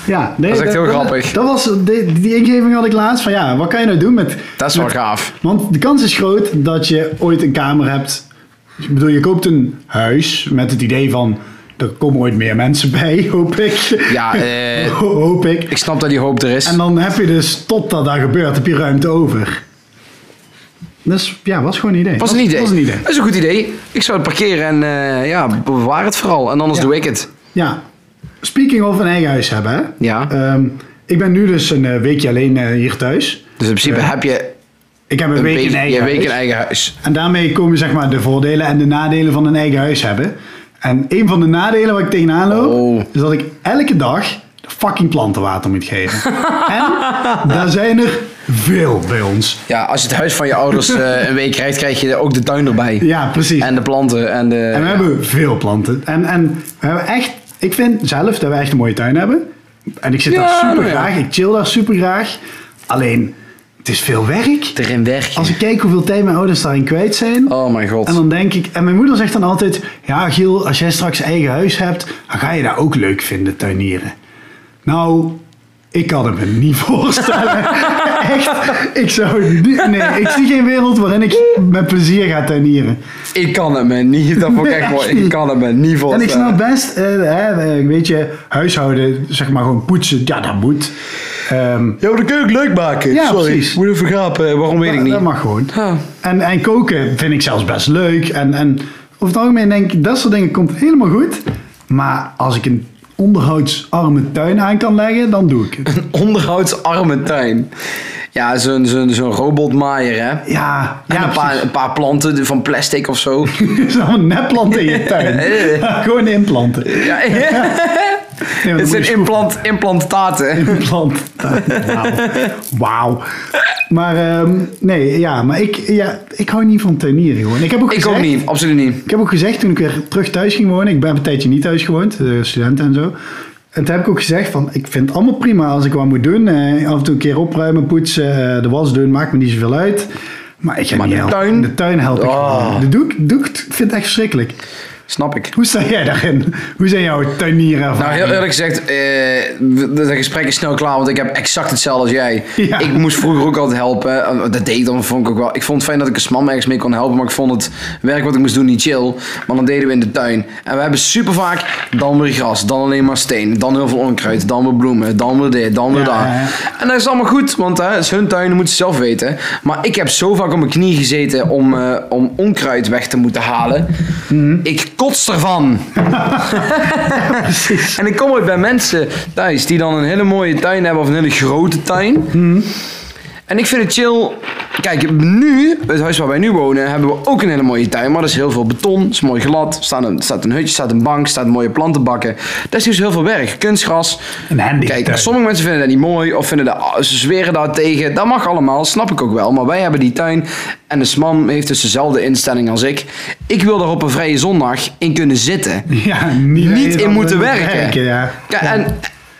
Speaker 2: Ja, nee,
Speaker 1: Dat is echt heel grappig.
Speaker 2: Dat was, die, die ingeving had ik laatst van ja, wat kan je nou doen met...
Speaker 1: Dat is wel
Speaker 2: met-
Speaker 1: gaaf.
Speaker 2: Want de kans is groot dat je ooit een kamer hebt. Ik bedoel, je koopt een huis met het idee van. Er komen ooit meer mensen bij, hoop ik.
Speaker 1: Ja, eh.
Speaker 2: Ho- hoop ik.
Speaker 1: Ik snap dat die hoop er is.
Speaker 2: En dan heb je dus, totdat dat gebeurt, heb je ruimte over. Dus ja, was gewoon een idee.
Speaker 1: was een idee.
Speaker 2: Was een idee.
Speaker 1: Dat is een goed idee. Ik zou het parkeren en eh, ja, bewaar het vooral. En anders
Speaker 2: Ja.
Speaker 1: doe ik het.
Speaker 2: Ja, speaking of een eigen huis hebben. Hè?
Speaker 1: Ja.
Speaker 2: Ehm, ik ben nu dus een eh, weekje alleen eh, hier thuis.
Speaker 1: Dus in principe
Speaker 2: Ja.
Speaker 1: heb je
Speaker 2: Ik heb een,
Speaker 1: een
Speaker 2: week
Speaker 1: beetje-
Speaker 2: in eigen
Speaker 1: je week
Speaker 2: huis.
Speaker 1: een eigen huis.
Speaker 2: En daarmee komen zeg maar de voordelen en de nadelen van een eigen huis hebben. En een van de nadelen waar ik tegenaan loop,
Speaker 1: Oh.
Speaker 2: is dat ik elke dag de fucking plantenwater moet geven. en daar zijn er Veel bij ons.
Speaker 1: Ja, als je het huis van je ouders eh, een week krijgt, krijg je ook de tuin erbij.
Speaker 2: Ja, precies.
Speaker 1: En de planten en de...
Speaker 2: En we hebben veel planten. En, en we hebben echt, ik vind zelf dat we echt een mooie tuin hebben. En ik zit
Speaker 1: Ja,
Speaker 2: daar super
Speaker 1: nou ja.
Speaker 2: graag. Ik chill daar super graag. Alleen, het is veel werk.
Speaker 1: Erin werken.
Speaker 2: Als ik kijk hoeveel tijd mijn ouders daarin kwijt zijn.
Speaker 1: Oh mijn god.
Speaker 2: En dan denk ik, en mijn moeder zegt dan altijd: Ja, Giel, als jij straks eigen huis hebt, dan ga je dat ook leuk vinden, tuinieren. Nou, ik kan het me niet voorstellen. Echt, ik zou het niet. Nee, ik zie geen wereld waarin ik met plezier ga tuinieren.
Speaker 1: Ik kan het me niet, dat vond ik echt
Speaker 2: Nee,
Speaker 1: mooi.
Speaker 2: echt niet.
Speaker 1: Ik kan het me niet
Speaker 2: En ik
Speaker 1: voorstellen.
Speaker 2: snap best, eh, hè, eh, weet je, huishouden, zeg maar gewoon poetsen, ja, dat moet. Ehm,
Speaker 1: Ja, maar de keuken leuk maken.
Speaker 2: Ja,
Speaker 1: Sorry.
Speaker 2: precies.
Speaker 1: Moet even gapen. Waarom weet ik
Speaker 2: dat-
Speaker 1: niet.
Speaker 2: Dat mag gewoon.
Speaker 1: Ja.
Speaker 2: En, en koken vind ik zelfs best leuk. En, en over het algemeen denk ik, dat soort dingen komt helemaal goed. Maar als ik een onderhoudsarme tuin aan kan leggen, dan doe ik het.
Speaker 1: Een onderhoudsarme tuin. Ja, zo'n zo'n zo'n robotmaaier, hè?
Speaker 2: Ja,
Speaker 1: En
Speaker 2: ja
Speaker 1: een, paar,
Speaker 2: precies.
Speaker 1: een paar planten van plastic of zo.
Speaker 2: Zo'n nepplant in je tuin. gewoon implanten. Nee,
Speaker 1: ja,
Speaker 2: want
Speaker 1: het
Speaker 2: dan moet je
Speaker 1: zijn
Speaker 2: schroeven.
Speaker 1: implant, implantaten.
Speaker 2: Implant. Wauw. Wauw. Maar ehm, nee, ja, maar ik, ja, ik hou niet van tuinieren gewoon. Ik heb ook
Speaker 1: Ik
Speaker 2: gezegd,
Speaker 1: ook niet, absoluut niet.
Speaker 2: Ik heb ook gezegd toen ik weer terug thuis ging wonen. Ik ben een tijdje niet thuis gewoond, eh, student en zo. En toen heb ik ook gezegd van, ik vind het allemaal prima als ik wat moet doen. Eh, af en toe een keer opruimen, poetsen, eh, de was doen, maakt me niet zoveel uit. Maar ik ga
Speaker 1: Maar
Speaker 2: niet
Speaker 1: de
Speaker 2: helpen.
Speaker 1: tuin?
Speaker 2: De tuin help ik
Speaker 1: Oh.
Speaker 2: gewoon. De doek, doek, ik vind het echt verschrikkelijk.
Speaker 1: Snap ik.
Speaker 2: Hoe sta jij daarin? Hoe zijn jouw tuinieren?
Speaker 1: Nou, heel eerlijk gezegd, eh, we- dat gesprek is snel klaar, want ik heb exact hetzelfde als jij.
Speaker 2: Ja.
Speaker 1: Ik moest vroeger ook altijd helpen. Eh, Dat deed ik dan, vond ik ook wel. Ik vond het fijn dat ik een man ergens mee kon helpen, maar ik vond het werk wat ik moest doen niet chill. Maar dan deden we in de tuin. En we hebben super vaak dan weer gras, dan alleen maar steen, dan heel veel onkruid, dan weer bloemen, dan weer dit, dan weer
Speaker 2: Ja,
Speaker 1: dat.
Speaker 2: ja, ja.
Speaker 1: En dat is allemaal goed, want hè, het is hun tuin, dat moeten ze zelf weten. Maar ik heb zo vaak op mijn knie gezeten om, eh, om onkruid weg te moeten halen.
Speaker 2: Mhm.
Speaker 1: Ik kots ervan.
Speaker 2: precies.
Speaker 1: En ik kom ooit bij mensen thuis die dan een hele mooie tuin hebben of een hele grote tuin.
Speaker 2: Mhm.
Speaker 1: En ik vind het chill. Kijk, nu, het huis waar wij nu wonen, hebben we ook een hele mooie tuin. Maar er is heel veel beton, is mooi glad. Er staat een, staat een hutje, staat een bank, staat mooie plantenbakken. Daar is dus heel veel werk. Kunstgras.
Speaker 2: Een handy
Speaker 1: Kijk,
Speaker 2: tuin.
Speaker 1: sommige mensen vinden dat niet mooi of vinden dat, ah, ze zweren daar tegen. Dat mag allemaal, snap ik ook wel. Maar wij hebben die tuin en de SMAM heeft dus dezelfde instelling als ik. Ik wil daar op een vrije zondag in kunnen zitten.
Speaker 2: Ja, niet,
Speaker 1: niet in moeten werken.
Speaker 2: ja.
Speaker 1: Ja, en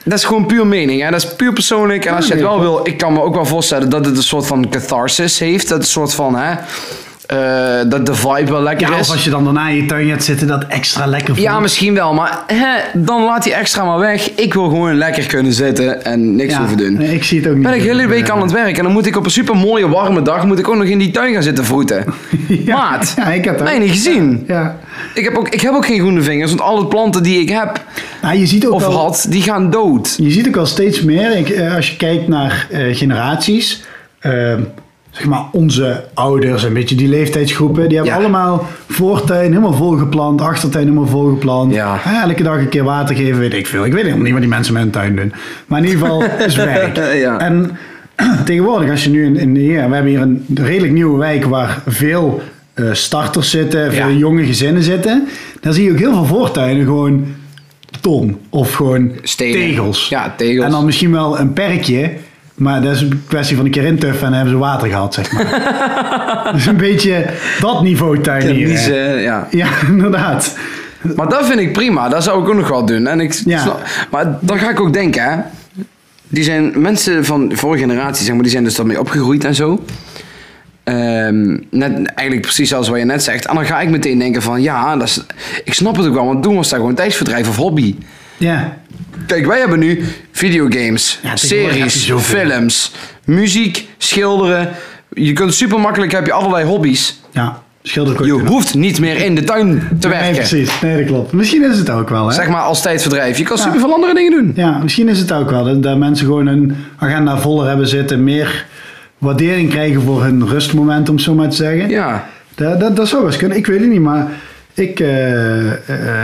Speaker 1: dat is gewoon puur mening. Hè? Dat is puur persoonlijk. En als je het wel wil, ik kan me ook wel voorstellen dat het een soort van catharsis heeft. Dat het een soort van, hè, eh, dat de vibe wel lekker
Speaker 2: Ja,
Speaker 1: is.
Speaker 2: of als je dan daarna in je tuin gaat zitten, dat extra lekker voelt.
Speaker 1: Ja, misschien wel, maar hè, dan laat die extra maar weg. Ik wil gewoon lekker kunnen zitten en niks
Speaker 2: Ja,
Speaker 1: hoeven doen.
Speaker 2: nee, ik zie het ook niet.
Speaker 1: Ben ik de hele week aan het werk en dan moet ik op een super mooie warme dag moet ik ook nog in die tuin gaan zitten vroeten.
Speaker 2: Ja,
Speaker 1: Maat,
Speaker 2: ja, ik heb dat.
Speaker 1: mij niet gezien.
Speaker 2: Ja.
Speaker 1: Ik, heb ook, ik heb ook geen groene vingers, want alle planten die ik heb
Speaker 2: Nou, je ziet ook
Speaker 1: of
Speaker 2: wel,
Speaker 1: had, die gaan dood.
Speaker 2: Je ziet ook al steeds meer, ik, eh, als je kijkt naar eh, generaties, eh, zeg maar onze ouders, een beetje die leeftijdsgroepen, die hebben
Speaker 1: Ja.
Speaker 2: allemaal voortuin helemaal volgeplant, achtertuin helemaal volgeplant.
Speaker 1: Ja.
Speaker 2: Eh, elke dag een keer water geven, weet ik veel. Ik weet helemaal niet wat die mensen met hun tuin doen. Maar in ieder geval, het is werk.
Speaker 1: Ja.
Speaker 2: En tegenwoordig, als je nu in, in hier, we hebben hier een redelijk nieuwe wijk waar veel eh, starters zitten, veel
Speaker 1: Ja.
Speaker 2: jonge gezinnen zitten, dan zie je ook heel veel voortuinen gewoon ton of gewoon
Speaker 1: Stenen.
Speaker 2: tegels.
Speaker 1: Ja, tegels.
Speaker 2: En dan misschien wel een perkje. Maar dat is een kwestie van een keer intuffen en dan hebben ze water gehad, zeg maar. dus een beetje dat niveau tuinieren.
Speaker 1: Niezen, ja.
Speaker 2: Ja, inderdaad.
Speaker 1: Maar dat vind ik prima. Dat zou ik ook nog wel doen. En ik,
Speaker 2: Ja.
Speaker 1: snap- maar dan ga ik ook denken, hè. Die zijn mensen van de vorige generatie, zeg maar, die zijn dus daarmee opgegroeid en zo. Ehm, net, eigenlijk precies zoals wat je net zegt. En dan ga ik meteen denken van, ja, dat is, ik snap het ook wel. Want toen was dat gewoon tijdsverdrijf of hobby.
Speaker 2: Ja,
Speaker 1: Kijk, wij hebben nu videogames,
Speaker 2: Ja, tegenwoordig heb je
Speaker 1: series,
Speaker 2: zoveel.
Speaker 1: films, muziek, schilderen. Je kunt super makkelijk, heb je allerlei hobby's.
Speaker 2: ja. schilderkoek.
Speaker 1: Je hoeft niet meer in de tuin te
Speaker 2: Nee,
Speaker 1: werken.
Speaker 2: precies. Nee, dat klopt. Misschien is het ook wel, hè?
Speaker 1: Zeg maar als tijdverdrijf. Je kan super veel andere dingen doen.
Speaker 2: Ja, misschien is het ook wel. Dat, dat mensen gewoon hun agenda voller hebben zitten. Meer waardering krijgen voor hun rustmoment, om het zo maar te zeggen.
Speaker 1: Ja.
Speaker 2: Dat, dat, dat zou best kunnen. Ik weet het niet, maar ik eh, eh,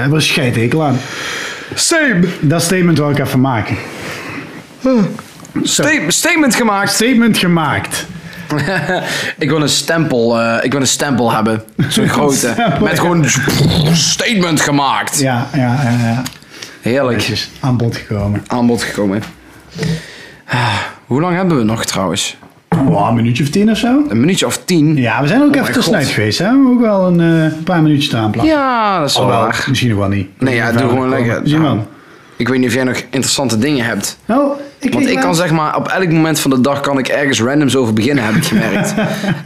Speaker 2: heb er een scheidhekel aan.
Speaker 1: Same.
Speaker 2: Dat statement wil ik even maken.
Speaker 1: statement gemaakt.
Speaker 2: Statement gemaakt.
Speaker 1: ik wil een stempel. eh, ik wil een stempel hebben. Zo'n grote.
Speaker 2: stempel,
Speaker 1: met
Speaker 2: ja.
Speaker 1: gewoon statement gemaakt.
Speaker 2: Ja, ja, ja. ja.
Speaker 1: Heerlijk.
Speaker 2: Netjes aan bod gekomen.
Speaker 1: Aan bod gekomen. Ah, Hoe lang hebben we nog trouwens?
Speaker 2: wow, Oh, een minuutje of tien of zo. Oh
Speaker 1: Een minuutje of tien.
Speaker 2: Ja, we zijn ook even
Speaker 1: mijn
Speaker 2: tussenuit
Speaker 1: God.
Speaker 2: geweest. Hè? We hebben ook wel een eh, paar minuutjes eraan plakken.
Speaker 1: Ja, dat is wel
Speaker 2: Alhoewel,
Speaker 1: waar.
Speaker 2: misschien nog wel niet.
Speaker 1: Oh, Nee, ja, doe gewoon lekker.
Speaker 2: Zie je
Speaker 1: Nou,
Speaker 2: wel.
Speaker 1: Ik weet niet of jij nog interessante dingen hebt.
Speaker 2: Nou, ik
Speaker 1: Want
Speaker 2: kreeg
Speaker 1: ik kan
Speaker 2: laatst-
Speaker 1: zeg maar, op elk moment van de dag kan ik ergens randoms over beginnen, heb ik gemerkt.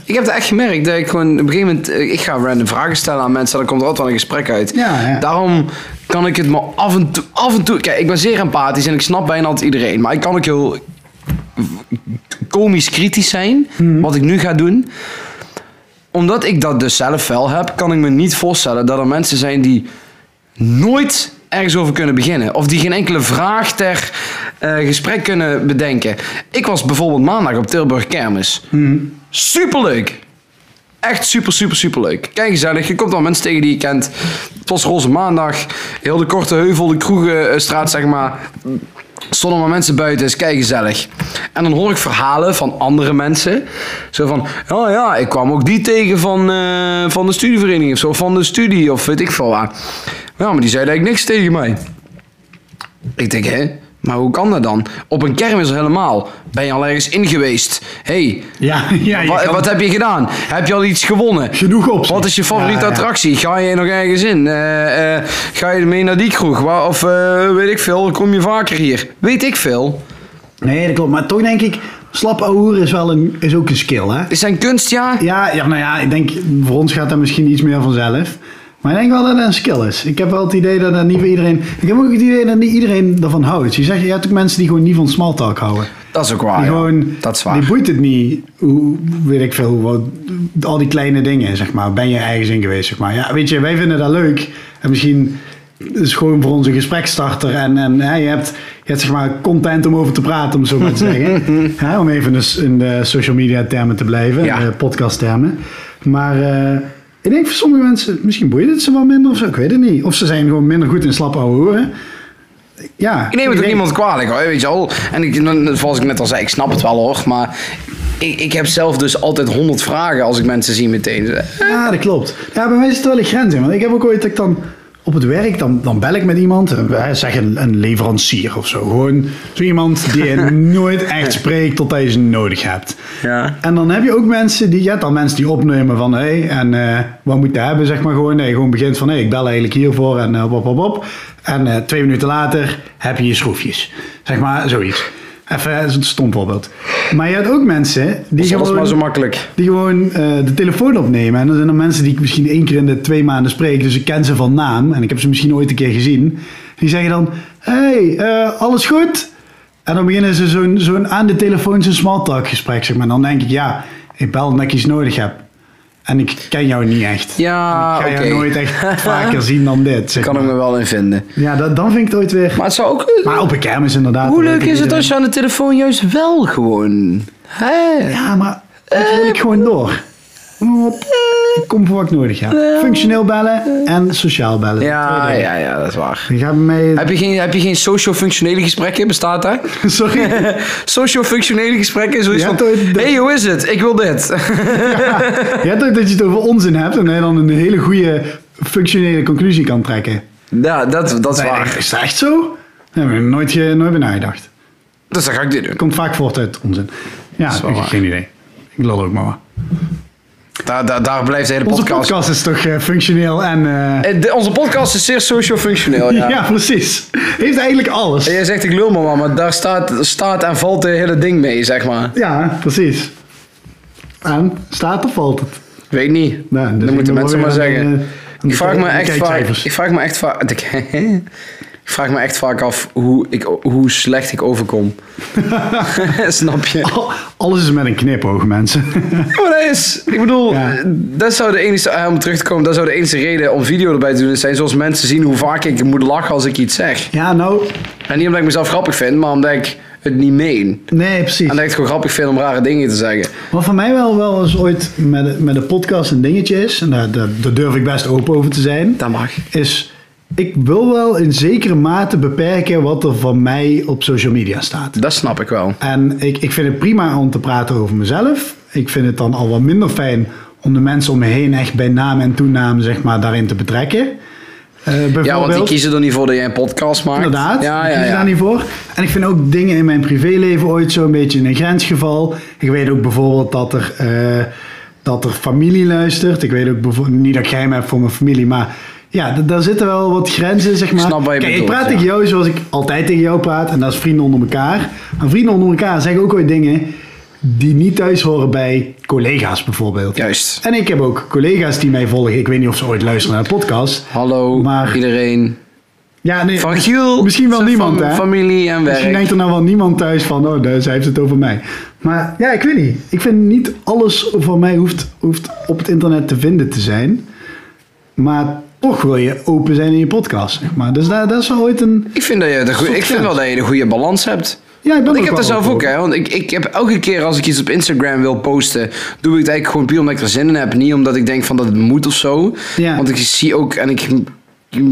Speaker 1: ik heb het echt gemerkt dat ik gewoon op een gegeven moment, eh, ik ga random vragen stellen aan mensen, dan komt er altijd wel een gesprek uit.
Speaker 2: Ja, ja.
Speaker 1: Daarom kan ik het maar af en toe, af en toe, kijk, ik ben zeer empathisch en ik snap bijna altijd iedereen, maar ik kan ook heel komisch kritisch zijn,
Speaker 2: Mhm.
Speaker 1: wat ik nu ga doen. Omdat ik dat dus zelf wel heb, kan ik me niet voorstellen dat er mensen zijn die nooit ergens over kunnen beginnen. Of die geen enkele vraag ter eh, gesprek kunnen bedenken. Ik was bijvoorbeeld maandag op Tilburg Kermis.
Speaker 2: Mhm.
Speaker 1: Superleuk! Echt super, super, super leuk. Kijk gezellig, je komt al mensen tegen die je kent. Het was roze maandag. Heel de korte heuvel, de kroegenstraat zeg maar stonden maar mensen buiten, is kei gezellig. En dan hoor ik verhalen van andere mensen. Zo van, oh ja, ik kwam ook die tegen van, eh, van de studievereniging of zo, van de studie of weet ik veel waar. Ja, maar die zei eigenlijk niks tegen mij. Ik denk, hè? Maar hoe kan dat dan? Op een kermis helemaal. Ben je al ergens in geweest? hey,
Speaker 2: Ja, ja, je
Speaker 1: wa-
Speaker 2: kan-
Speaker 1: wat heb je gedaan? Heb je al iets gewonnen?
Speaker 2: Genoeg opties.
Speaker 1: Wat is je favoriete
Speaker 2: Ja, ja.
Speaker 1: attractie? Ga je nog ergens in? Eh, eh, ga je mee naar die kroeg? Waar, of eh, weet ik veel, kom je vaker hier? Weet ik veel.
Speaker 2: Nee, dat klopt. Maar toch denk ik, slap ouwe is, wel een, is ook een skill, hè?
Speaker 1: Is zijn kunst, ja?
Speaker 2: Ja, ja, nou ja, ik denk, voor ons gaat dat misschien iets meer vanzelf. Maar ik denk wel dat dat een skill is. Ik heb wel het idee dat dat niet voor iedereen... Ik heb ook het idee dat niet iedereen ervan houdt. Je, zegt, je hebt ook mensen die gewoon niet van small talk houden.
Speaker 1: Dat is ook waar.
Speaker 2: Die
Speaker 1: ja.
Speaker 2: gewoon...
Speaker 1: dat is waar.
Speaker 2: Die boeit het niet. Hoe, weet ik veel, hoe, wat- al die kleine dingen, zeg maar. Ben je ergens in geweest, zeg maar. Ja, weet je, wij vinden dat leuk. En misschien is het gewoon voor ons een gesprekstarter. En, en hè, je, hebt, je hebt, zeg maar, content om over te praten, om het zo maar te zeggen. Hè, om even dus in de social media termen te blijven.
Speaker 1: Ja.
Speaker 2: Ja. podcast termen. Maar... eh, ik denk voor sommige mensen, misschien boeit het ze wel minder of zo, ik weet het niet. Of ze zijn gewoon minder goed in slap ouwe horen. Ja.
Speaker 1: Ik neem het ook
Speaker 2: iedereen-
Speaker 1: niemand kwalijk hoor, weet je al. En ik, dan- zoals ik net al zei, ik snap het wel hoor. Maar ik, ik heb zelf dus altijd honderd vragen als ik mensen zie meteen.
Speaker 2: Ja, dat klopt. Ja, bij mij zit er wel een grens in. Want ik heb ook ooit dat ik dan op het werk, dan, dan bel ik met iemand. eh, wij zeggen een, een leverancier of zo. Gewoon zo iemand die je nooit echt spreekt totdat je ze nodig hebt.
Speaker 1: Ja.
Speaker 2: En dan heb je ook mensen die, je hebt dan mensen die opnemen van, hé, hey, en eh, wat moet je hebben, zeg maar gewoon. Nee, gewoon begint van, hé, ik bel eigenlijk hiervoor en eh, op, op, op. En eh, twee minuten later heb je je schroefjes. Zeg maar, zoiets. Even eh, zo'n stom voorbeeld. Maar je hebt ook mensen die
Speaker 1: Dat is
Speaker 2: gewoon...
Speaker 1: maar zo makkelijk.
Speaker 2: Die gewoon eh, de telefoon opnemen. En dan zijn er mensen die ik misschien één keer in de twee maanden spreek. Dus ik ken ze van naam. En ik heb ze misschien ooit een keer gezien. Die zeggen dan: Hey, eh, alles goed? En dan beginnen ze zo'n zo'n aan de telefoon zo'n smalltalk gesprek. Zeg maar. En dan denk ik: Ja, ik bel omdat ik iets nodig heb. En ik ken jou niet echt.
Speaker 1: Ja,
Speaker 2: ik ga
Speaker 1: oké.
Speaker 2: jou nooit echt vaker zien dan dit. Zeg
Speaker 1: Kan ik
Speaker 2: maar.
Speaker 1: me wel in vinden.
Speaker 2: Ja, dat, dan vind ik het ooit weer.
Speaker 1: Maar het zou ook...
Speaker 2: Maar op een kermis inderdaad.
Speaker 1: Hoe
Speaker 2: dan
Speaker 1: leuk
Speaker 2: weet ik
Speaker 1: is het
Speaker 2: iedereen.
Speaker 1: als je aan de telefoon juist wel gewoon... Hè?
Speaker 2: Ja, maar dat wil ik gewoon door. Op. Ik kom voor wat ik nodig heb. Functioneel bellen en sociaal bellen.
Speaker 1: Ja,
Speaker 2: Twee dingen.
Speaker 1: ja, ja, dat is waar.
Speaker 2: Je gaat mee...
Speaker 1: Heb je geen, heb je geen socio-functionele gesprekken? Bestaat dat?
Speaker 2: Sorry.
Speaker 1: socio-functionele gesprekken? Zoiets
Speaker 2: Ja,
Speaker 1: van,
Speaker 2: toch, dat-
Speaker 1: hey, hoe is het? Ik wil dit.
Speaker 2: Je hebt ook dat je het over onzin hebt en dat je dan een hele goede functionele conclusie kan trekken.
Speaker 1: ja, dat, dat is
Speaker 2: Nee,
Speaker 1: waar.
Speaker 2: Is dat echt zo? Daar heb ik nooit, ge- nooit bij nagedacht.
Speaker 1: Dus dan ga ik dit doen.
Speaker 2: Komt vaak voort uit onzin. Ja,
Speaker 1: is wel
Speaker 2: ik heb
Speaker 1: waar.
Speaker 2: geen idee. Ik lol ook maar. wat.
Speaker 1: Daar, daar, daar blijft de hele
Speaker 2: Onze
Speaker 1: podcast.
Speaker 2: podcast is toch eh, functioneel en... eh,
Speaker 1: Eh, de- onze podcast is zeer socio-functioneel,
Speaker 2: ja.
Speaker 1: ja.
Speaker 2: precies. Heeft eigenlijk alles.
Speaker 1: En Jij zegt ik lul maar, wat, maar daar staat, staat en valt het hele ding mee, zeg maar.
Speaker 2: Ja, precies. En staat of valt het?
Speaker 1: Weet niet.
Speaker 2: Nou, dus
Speaker 1: dat
Speaker 2: ik
Speaker 1: moeten
Speaker 2: ben
Speaker 1: mensen
Speaker 2: wel
Speaker 1: maar
Speaker 2: weer aan
Speaker 1: zeggen.
Speaker 2: de-
Speaker 1: ik,
Speaker 2: aan de
Speaker 1: vraag
Speaker 2: kijk-
Speaker 1: me
Speaker 2: aan de
Speaker 1: echt vaak,
Speaker 2: kijkcijfers.
Speaker 1: ik vraag me echt vaak... Ik vraag me echt vaak af hoe, ik, hoe slecht ik overkom. Snap je?
Speaker 2: Al- Alles is met een knipoog, mensen.
Speaker 1: Ja, Oh, maar dat is, ik bedoel,
Speaker 2: Ja.
Speaker 1: dat zou de enige, eh, om terug te komen, dat zou de enige reden om video erbij te doen zijn zoals mensen zien hoe vaak ik moet lachen als ik iets zeg.
Speaker 2: ja, nou,
Speaker 1: En niet omdat ik mezelf grappig vind, maar omdat ik het niet meen. En
Speaker 2: nee, precies.
Speaker 1: dat ik het gewoon grappig vind om rare dingen te zeggen.
Speaker 2: Wat voor mij wel, wel eens ooit met, met een podcast een dingetje is, en daar, daar, daar durf ik best open over te zijn,
Speaker 1: Dat mag.
Speaker 2: is ik wil wel in zekere mate beperken wat er van mij op social media staat.
Speaker 1: Dat snap ik wel.
Speaker 2: En ik, ik vind het prima om te praten over mezelf. Ik vind het dan al wat minder fijn om de mensen om me heen echt bij naam en toenaam zeg maar, daarin te betrekken. Eh, bijvoorbeeld,
Speaker 1: Ja, want die kiezen er niet voor dat jij een podcast maakt.
Speaker 2: Inderdaad,
Speaker 1: Ja,
Speaker 2: ik
Speaker 1: ja,
Speaker 2: kies
Speaker 1: ja.
Speaker 2: daar niet voor. En ik vind ook dingen in mijn privéleven ooit zo'n beetje een grensgeval. Ik weet ook bijvoorbeeld dat er, eh, dat er familie luistert. Ik weet ook bijvoorbeeld, niet dat ik geheim heb voor mijn familie, maar ja, d- daar zitten wel wat grenzen, zeg maar.
Speaker 1: snap wat je
Speaker 2: Kijk, ik
Speaker 1: bedoelt,
Speaker 2: praat
Speaker 1: ja.
Speaker 2: tegen jou zoals ik altijd tegen jou praat, en dat is vrienden onder elkaar. En vrienden onder elkaar zeggen ook ooit dingen die niet thuis horen bij collega's bijvoorbeeld.
Speaker 1: Juist.
Speaker 2: En ik heb ook collega's die mij volgen. Ik weet niet of ze ooit luisteren naar de podcast.
Speaker 1: Hallo
Speaker 2: Maar-
Speaker 1: iedereen.
Speaker 2: Ja, nee.
Speaker 1: Van Giel.
Speaker 2: Misschien wel
Speaker 1: zijn
Speaker 2: niemand,
Speaker 1: fam-
Speaker 2: hè?
Speaker 1: Familie en
Speaker 2: Misschien
Speaker 1: werk.
Speaker 2: denkt er nou wel niemand thuis van, oh, daar- zij heeft het over mij. Maar ja, ik weet niet. Ik vind niet alles van mij hoeft, hoeft op het internet te vinden te zijn. Maar toch wil je open zijn in je podcast, zeg maar. Dus daar, dat is wel ooit een...
Speaker 1: Ik vind, dat je de goe-
Speaker 2: Soort
Speaker 1: ik vind wel
Speaker 2: grens.
Speaker 1: dat je de goede balans hebt.
Speaker 2: Ja, ik ben
Speaker 1: Want ik
Speaker 2: ook
Speaker 1: heb
Speaker 2: wel
Speaker 1: dat zelf
Speaker 2: open.
Speaker 1: ook, hè. Want ik, ik heb elke keer als ik iets op Instagram wil posten, doe ik het eigenlijk gewoon puur omdat ik er zin in heb. Niet omdat ik denk van dat het moet of zo.
Speaker 2: Ja.
Speaker 1: Want ik zie ook en ik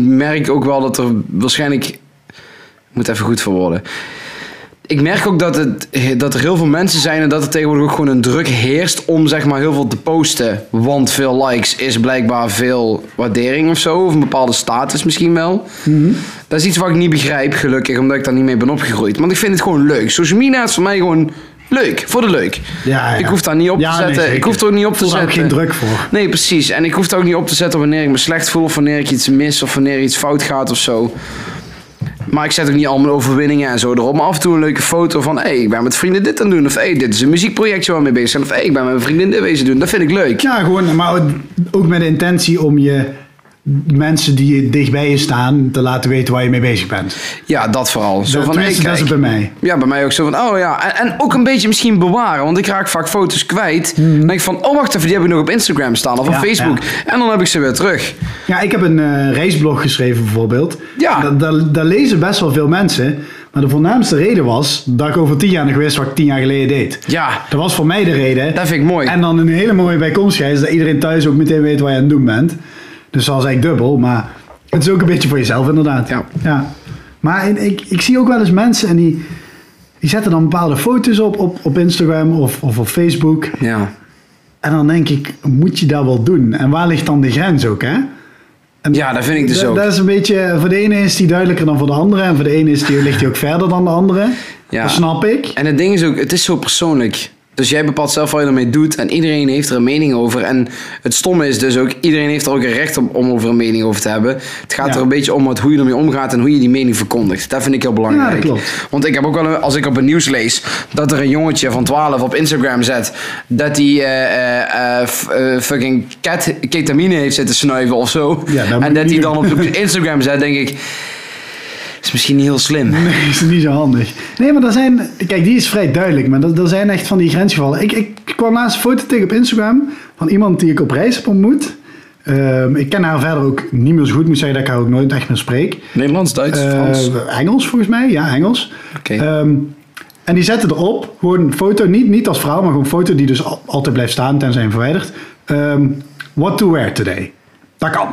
Speaker 1: merk ook wel dat er waarschijnlijk... Ik moet even goed verwoorden. Ik merk ook dat, het, dat er heel veel mensen zijn en dat er tegenwoordig ook gewoon een druk heerst om zeg maar heel veel te posten. Want veel likes is blijkbaar veel waardering of zo. Of een bepaalde status misschien wel. Dat is iets wat ik niet begrijp, gelukkig, omdat ik daar niet mee ben opgegroeid. Want ik vind het gewoon leuk. Social media is voor mij gewoon leuk. Voor de leuk.
Speaker 2: Ja, ja.
Speaker 1: Ik hoef daar niet op
Speaker 2: Ja,
Speaker 1: te
Speaker 2: nee,
Speaker 1: zetten. ik
Speaker 2: zeker.
Speaker 1: hoef er ook niet op te
Speaker 2: Voel daar
Speaker 1: zetten.
Speaker 2: ook geen druk voor.
Speaker 1: Nee, precies. En ik hoef het ook niet op te zetten wanneer ik me slecht voel of wanneer ik iets mis of wanneer iets fout gaat of zo. Maar ik zet ook niet al mijn overwinningen en zo erop. Maar af en toe een leuke foto van... hé, hey, ik ben met vrienden dit aan het doen. Of hé, hey, dit is een muziekprojectje waar we mee bezig zijn. Of hé, hey, ik ben met mijn vriendin dit bezig doen. Dat vind ik leuk.
Speaker 2: Ja, gewoon, maar ook met de intentie om je mensen die je dichtbij je staan te laten weten waar je mee bezig bent.
Speaker 1: Ja, dat vooral. Zo
Speaker 2: Dat-
Speaker 1: van, hey,
Speaker 2: tenminste, dat is
Speaker 1: kijk.
Speaker 2: het bij mij.
Speaker 1: Ja, bij mij ook zo van, oh ja. En, en ook een beetje misschien bewaren, want ik raak vaak foto's kwijt. Dan denk ik van, oh wacht even, die heb ik nog op Instagram staan of op
Speaker 2: Mhm. Ja,
Speaker 1: Facebook. En dan heb ik ze weer terug.
Speaker 2: Ja, ik heb een eh, reisblog geschreven bijvoorbeeld.
Speaker 1: Ja.
Speaker 2: Da- da- Daar lezen best wel veel mensen. Maar de voornaamste reden was dat ik over tien jaar nog wist wat ik tien jaar geleden deed.
Speaker 1: Ja,
Speaker 2: Dat was voor mij de reden.
Speaker 1: dat vind ik mooi.
Speaker 2: En dan een hele mooie bijkomstigheid is dat iedereen thuis ook meteen weet waar je aan het doen bent. Dus dat is eigenlijk dubbel, maar het is ook een beetje voor jezelf inderdaad.
Speaker 1: Ja.
Speaker 2: Maar in- ik, ik zie ook wel eens mensen en die, die zetten dan bepaalde foto's op op, op Instagram of, of op Facebook.
Speaker 1: Ja.
Speaker 2: En dan denk ik, moet je dat wel doen? En waar ligt dan de grens ook, hè? En
Speaker 1: ja, dat vind ik dus
Speaker 2: da-
Speaker 1: ook.
Speaker 2: Dat is een beetje, voor de ene is die duidelijker dan voor de andere. En voor de ene is die, ligt die ook verder dan de andere.
Speaker 1: Ja.
Speaker 2: Dat snap ik.
Speaker 1: En het ding is ook, het is zo persoonlijk. Dus jij bepaalt zelf wat je ermee doet en iedereen heeft er een mening over. En het stomme is dus ook, iedereen heeft er ook een recht om, om over een mening over te hebben. Het gaat
Speaker 2: Ja.
Speaker 1: er een beetje om wat, hoe je ermee omgaat en hoe je die mening verkondigt. Dat vind ik heel belangrijk.
Speaker 2: Ja, dat klopt.
Speaker 1: Want ik heb ook wel, een- als ik op het nieuws lees, dat er een jongetje van 12 op Instagram zet dat hij eh, eh, eh, f- eh, fucking ket- ketamine heeft zitten snuiven of zo.
Speaker 2: Ja, dat moet
Speaker 1: en
Speaker 2: je
Speaker 1: dat
Speaker 2: niet
Speaker 1: hij
Speaker 2: doen.
Speaker 1: dan op Instagram zet, denk ik, is misschien niet heel slim.
Speaker 2: Nee, is niet zo handig. Nee, maar er zijn... Kijk, die is vrij duidelijk. Maar er er zijn echt van die grensgevallen. Ik, ik kwam laatst een foto tegen op Instagram van iemand die ik op reis heb ontmoet. Ehm, ik ken haar verder ook niet meer zo goed. Ik moet zeggen dat ik haar ook nooit echt meer spreek.
Speaker 1: Nederlands, Duits, Frans.
Speaker 2: Eh, Engels volgens mij, ja, Engels.
Speaker 1: Oké.
Speaker 2: Ehm, en die zetten erop, gewoon een foto, niet, niet als vrouw, maar gewoon een foto die dus al- altijd blijft staan tenzij hem verwijderd. Ehm, what to wear today. Dat kan.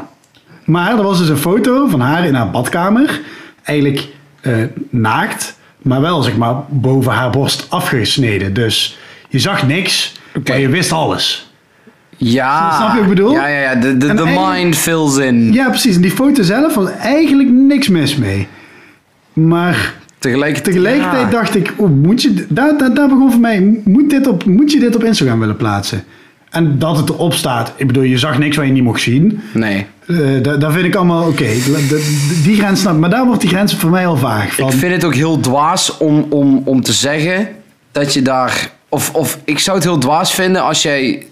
Speaker 2: Maar er was dus een foto van haar in haar badkamer. Eigenlijk eh, naakt, maar wel zeg maar boven haar borst afgesneden. Dus je zag niks,
Speaker 1: Oké.
Speaker 2: maar je wist alles.
Speaker 1: Ja.
Speaker 2: Snap je wat ik bedoel?
Speaker 1: Ja, ja, ja. De, de,
Speaker 2: En
Speaker 1: de
Speaker 2: eigenlijk-
Speaker 1: mind fills in.
Speaker 2: Ja, precies. En die foto zelf was eigenlijk niks mis mee. Maar
Speaker 1: Tegelijkertijd.
Speaker 2: Tegelijkertijd
Speaker 1: ja.
Speaker 2: dacht ik, oh, moet je, daar, daar, daar begon voor mij, moet, dit op, moet je dit op Instagram willen plaatsen? En dat het erop staat, ik bedoel, je zag niks waar je niet mocht zien.
Speaker 1: Nee.
Speaker 2: Eh dat, dat vind ik allemaal oké. Dat- dat- Die grens snap maar daar wordt die grens voor mij al vaag. Van,
Speaker 1: Ik vind het ook heel dwaas om, om, om te zeggen dat je daar. Of, of ik zou het heel dwaas vinden als jij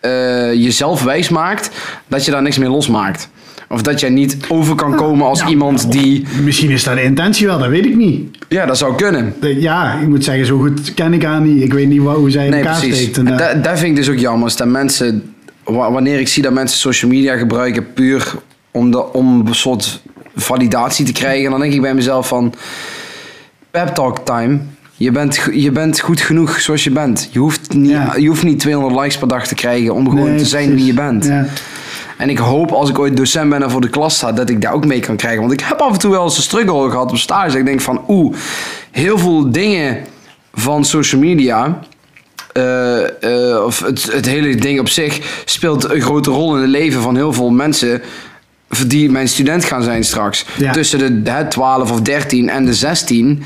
Speaker 1: eh, jezelf wijs maakt dat je daar niks meer losmaakt. Of dat jij niet over kan komen als
Speaker 2: ja.
Speaker 1: iemand die.
Speaker 2: Misschien is dat de intentie wel, dat weet ik niet.
Speaker 1: Ja, dat zou kunnen.
Speaker 2: De- ja, ik moet zeggen, zo goed ken ik haar niet. Ik weet niet waar, hoe zij in
Speaker 1: Nee,
Speaker 2: elkaar
Speaker 1: precies.
Speaker 2: steekt. En, eh,
Speaker 1: dat, dat vind ik dus ook jammer. is Dat mensen, wa- wanneer ik zie dat mensen social media gebruiken puur om, de, om een soort validatie te krijgen, dan denk ik bij mezelf van pep talk time. Je bent, go- je bent goed genoeg zoals je bent. Je hoeft, niet,
Speaker 2: Ja.
Speaker 1: je hoeft niet 200 likes per dag te krijgen om gewoon
Speaker 2: nee,
Speaker 1: te zijn
Speaker 2: precies.
Speaker 1: wie je bent.
Speaker 2: Ja.
Speaker 1: En ik hoop als ik ooit docent ben en voor de klas sta, dat ik daar ook mee kan krijgen. Want ik heb af en toe wel eens een struggle gehad op stage. Dat ik denk van, oeh, heel veel dingen van social media. eh, eh, of het, het hele ding op zich speelt een grote rol in het leven van heel veel mensen. die mijn student gaan zijn straks.
Speaker 2: Ja.
Speaker 1: Tussen de, hè, 12 of 13 en de 16.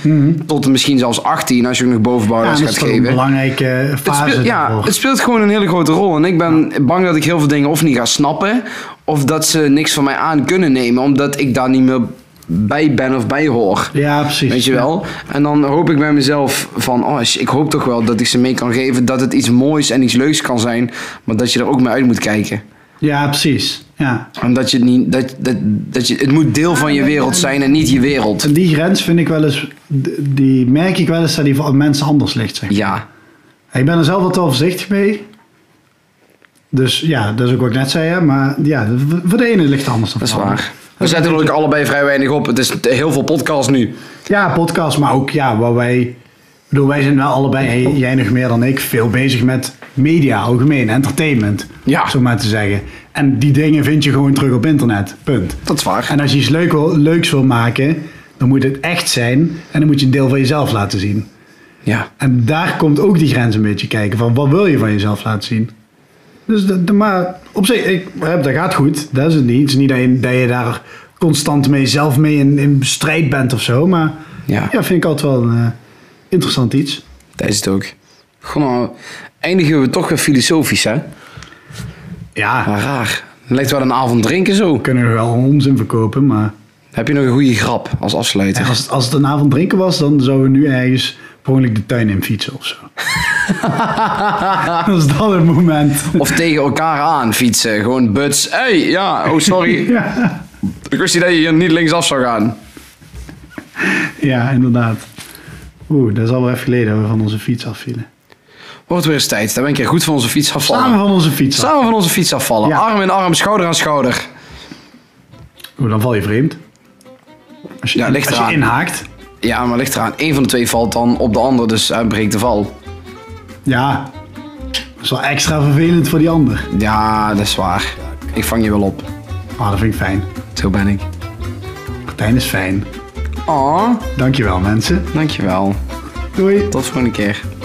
Speaker 1: Tot en misschien zelfs 18 als je ook nog
Speaker 2: Mhm. Ja,
Speaker 1: bovenbouwles
Speaker 2: dat is
Speaker 1: gaat
Speaker 2: toch een
Speaker 1: geven.
Speaker 2: belangrijke
Speaker 1: Het
Speaker 2: fase.
Speaker 1: speelt, ja,
Speaker 2: daarvoor.
Speaker 1: het speelt gewoon een hele grote rol. En ik ben bang dat ik heel veel dingen of niet ga snappen. Of dat ze niks van mij aan kunnen nemen. Omdat ik daar niet meer bij ben of bij hoor.
Speaker 2: ja, precies.
Speaker 1: Weet je wel? En dan hoop ik bij mezelf van, oh, sh- ik hoop toch wel dat ik ze mee kan geven dat het iets moois en iets leuks kan zijn, maar dat je er ook mee uit moet kijken.
Speaker 2: Ja, precies. Ja.
Speaker 1: En dat je het niet, dat, dat, dat je, het moet deel van je wereld zijn en niet je wereld.
Speaker 2: En die grens vind ik wel eens, d- die merk ik wel eens dat die voor mensen anders ligt. Zeg.
Speaker 1: Ja,
Speaker 2: Ik ben er zelf wat wel voorzichtig mee. Dus ja, dat is ook wat ik net zei, hè, maar ja, v- voor de ene ligt het anders dan
Speaker 1: dat is
Speaker 2: voor de
Speaker 1: waar.
Speaker 2: ander.
Speaker 1: We zetten er ook allebei vrij weinig op. Het is t- heel veel podcast nu.
Speaker 2: Ja, podcast, maar ook ja, waar wij. ik bedoel, wij zijn wel allebei, hey, jij nog meer dan ik, veel bezig met media, algemeen, entertainment.
Speaker 1: Ja.
Speaker 2: Zo maar te zeggen. En die dingen vind je gewoon terug op internet. Punt.
Speaker 1: Dat is waar.
Speaker 2: En als je iets leuk wil- leuks wil maken, dan moet het echt zijn. En dan moet je een deel van jezelf laten zien.
Speaker 1: Ja.
Speaker 2: En daar komt ook die grens een beetje kijken van wat wil je van jezelf laten zien. Dus de, de- maar op zich, ik, hè, dat gaat goed. Dat is het niet. Het is niet dat je, dat je daar constant mee zelf mee in, in strijd bent of zo. Maar
Speaker 1: Ja.
Speaker 2: ja, vind ik altijd wel een eh, interessant iets.
Speaker 1: Dat is het ook. Gewoon, nou, eindigen we toch weer filosofisch, hè?
Speaker 2: Ja,
Speaker 1: Maar raar. Lijkt wel een avond drinken zo.
Speaker 2: we kunnen er wel onzin verkopen. Maar
Speaker 1: Heb je nog een goede grap als afsluiter?
Speaker 2: als, het- als het een avond drinken was, dan zouden we nu ergens per ongeluk de tuin in fietsen of zo. dat is dan het moment.
Speaker 1: Of tegen elkaar aan fietsen. Gewoon buts. Hé, hey, ja, oh sorry.
Speaker 2: ja,
Speaker 1: Ik wist niet dat je hier niet linksaf zou gaan.
Speaker 2: ja, inderdaad. Oeh, dat is al wel even geleden dat we van onze fiets afvielen.
Speaker 1: Wordt weer eens tijd. Dan ben ik keer goed van onze fiets afvallen.
Speaker 2: Samen
Speaker 1: Samen,
Speaker 2: van onze fiets. af.
Speaker 1: van onze fiets afvallen.
Speaker 2: Ja.
Speaker 1: Arm in arm, schouder aan schouder.
Speaker 2: Oeh, dan val je vreemd. Als je,
Speaker 1: Ja, ligt
Speaker 2: als je
Speaker 1: eraan.
Speaker 2: inhaakt.
Speaker 1: Ja, maar ligt eraan. Eén van de twee valt dan op de ander, dus hij breekt de val.
Speaker 2: Ja. Dat is wel extra vervelend voor die ander.
Speaker 1: Ja, dat is waar. Ik vang je wel op.
Speaker 2: Maar Ah, dat vind ik fijn.
Speaker 1: Zo ben ik.
Speaker 2: Martijn is fijn.
Speaker 1: Oh,
Speaker 2: Dankjewel mensen.
Speaker 1: dankjewel.
Speaker 2: Doei.
Speaker 1: Tot volgende keer.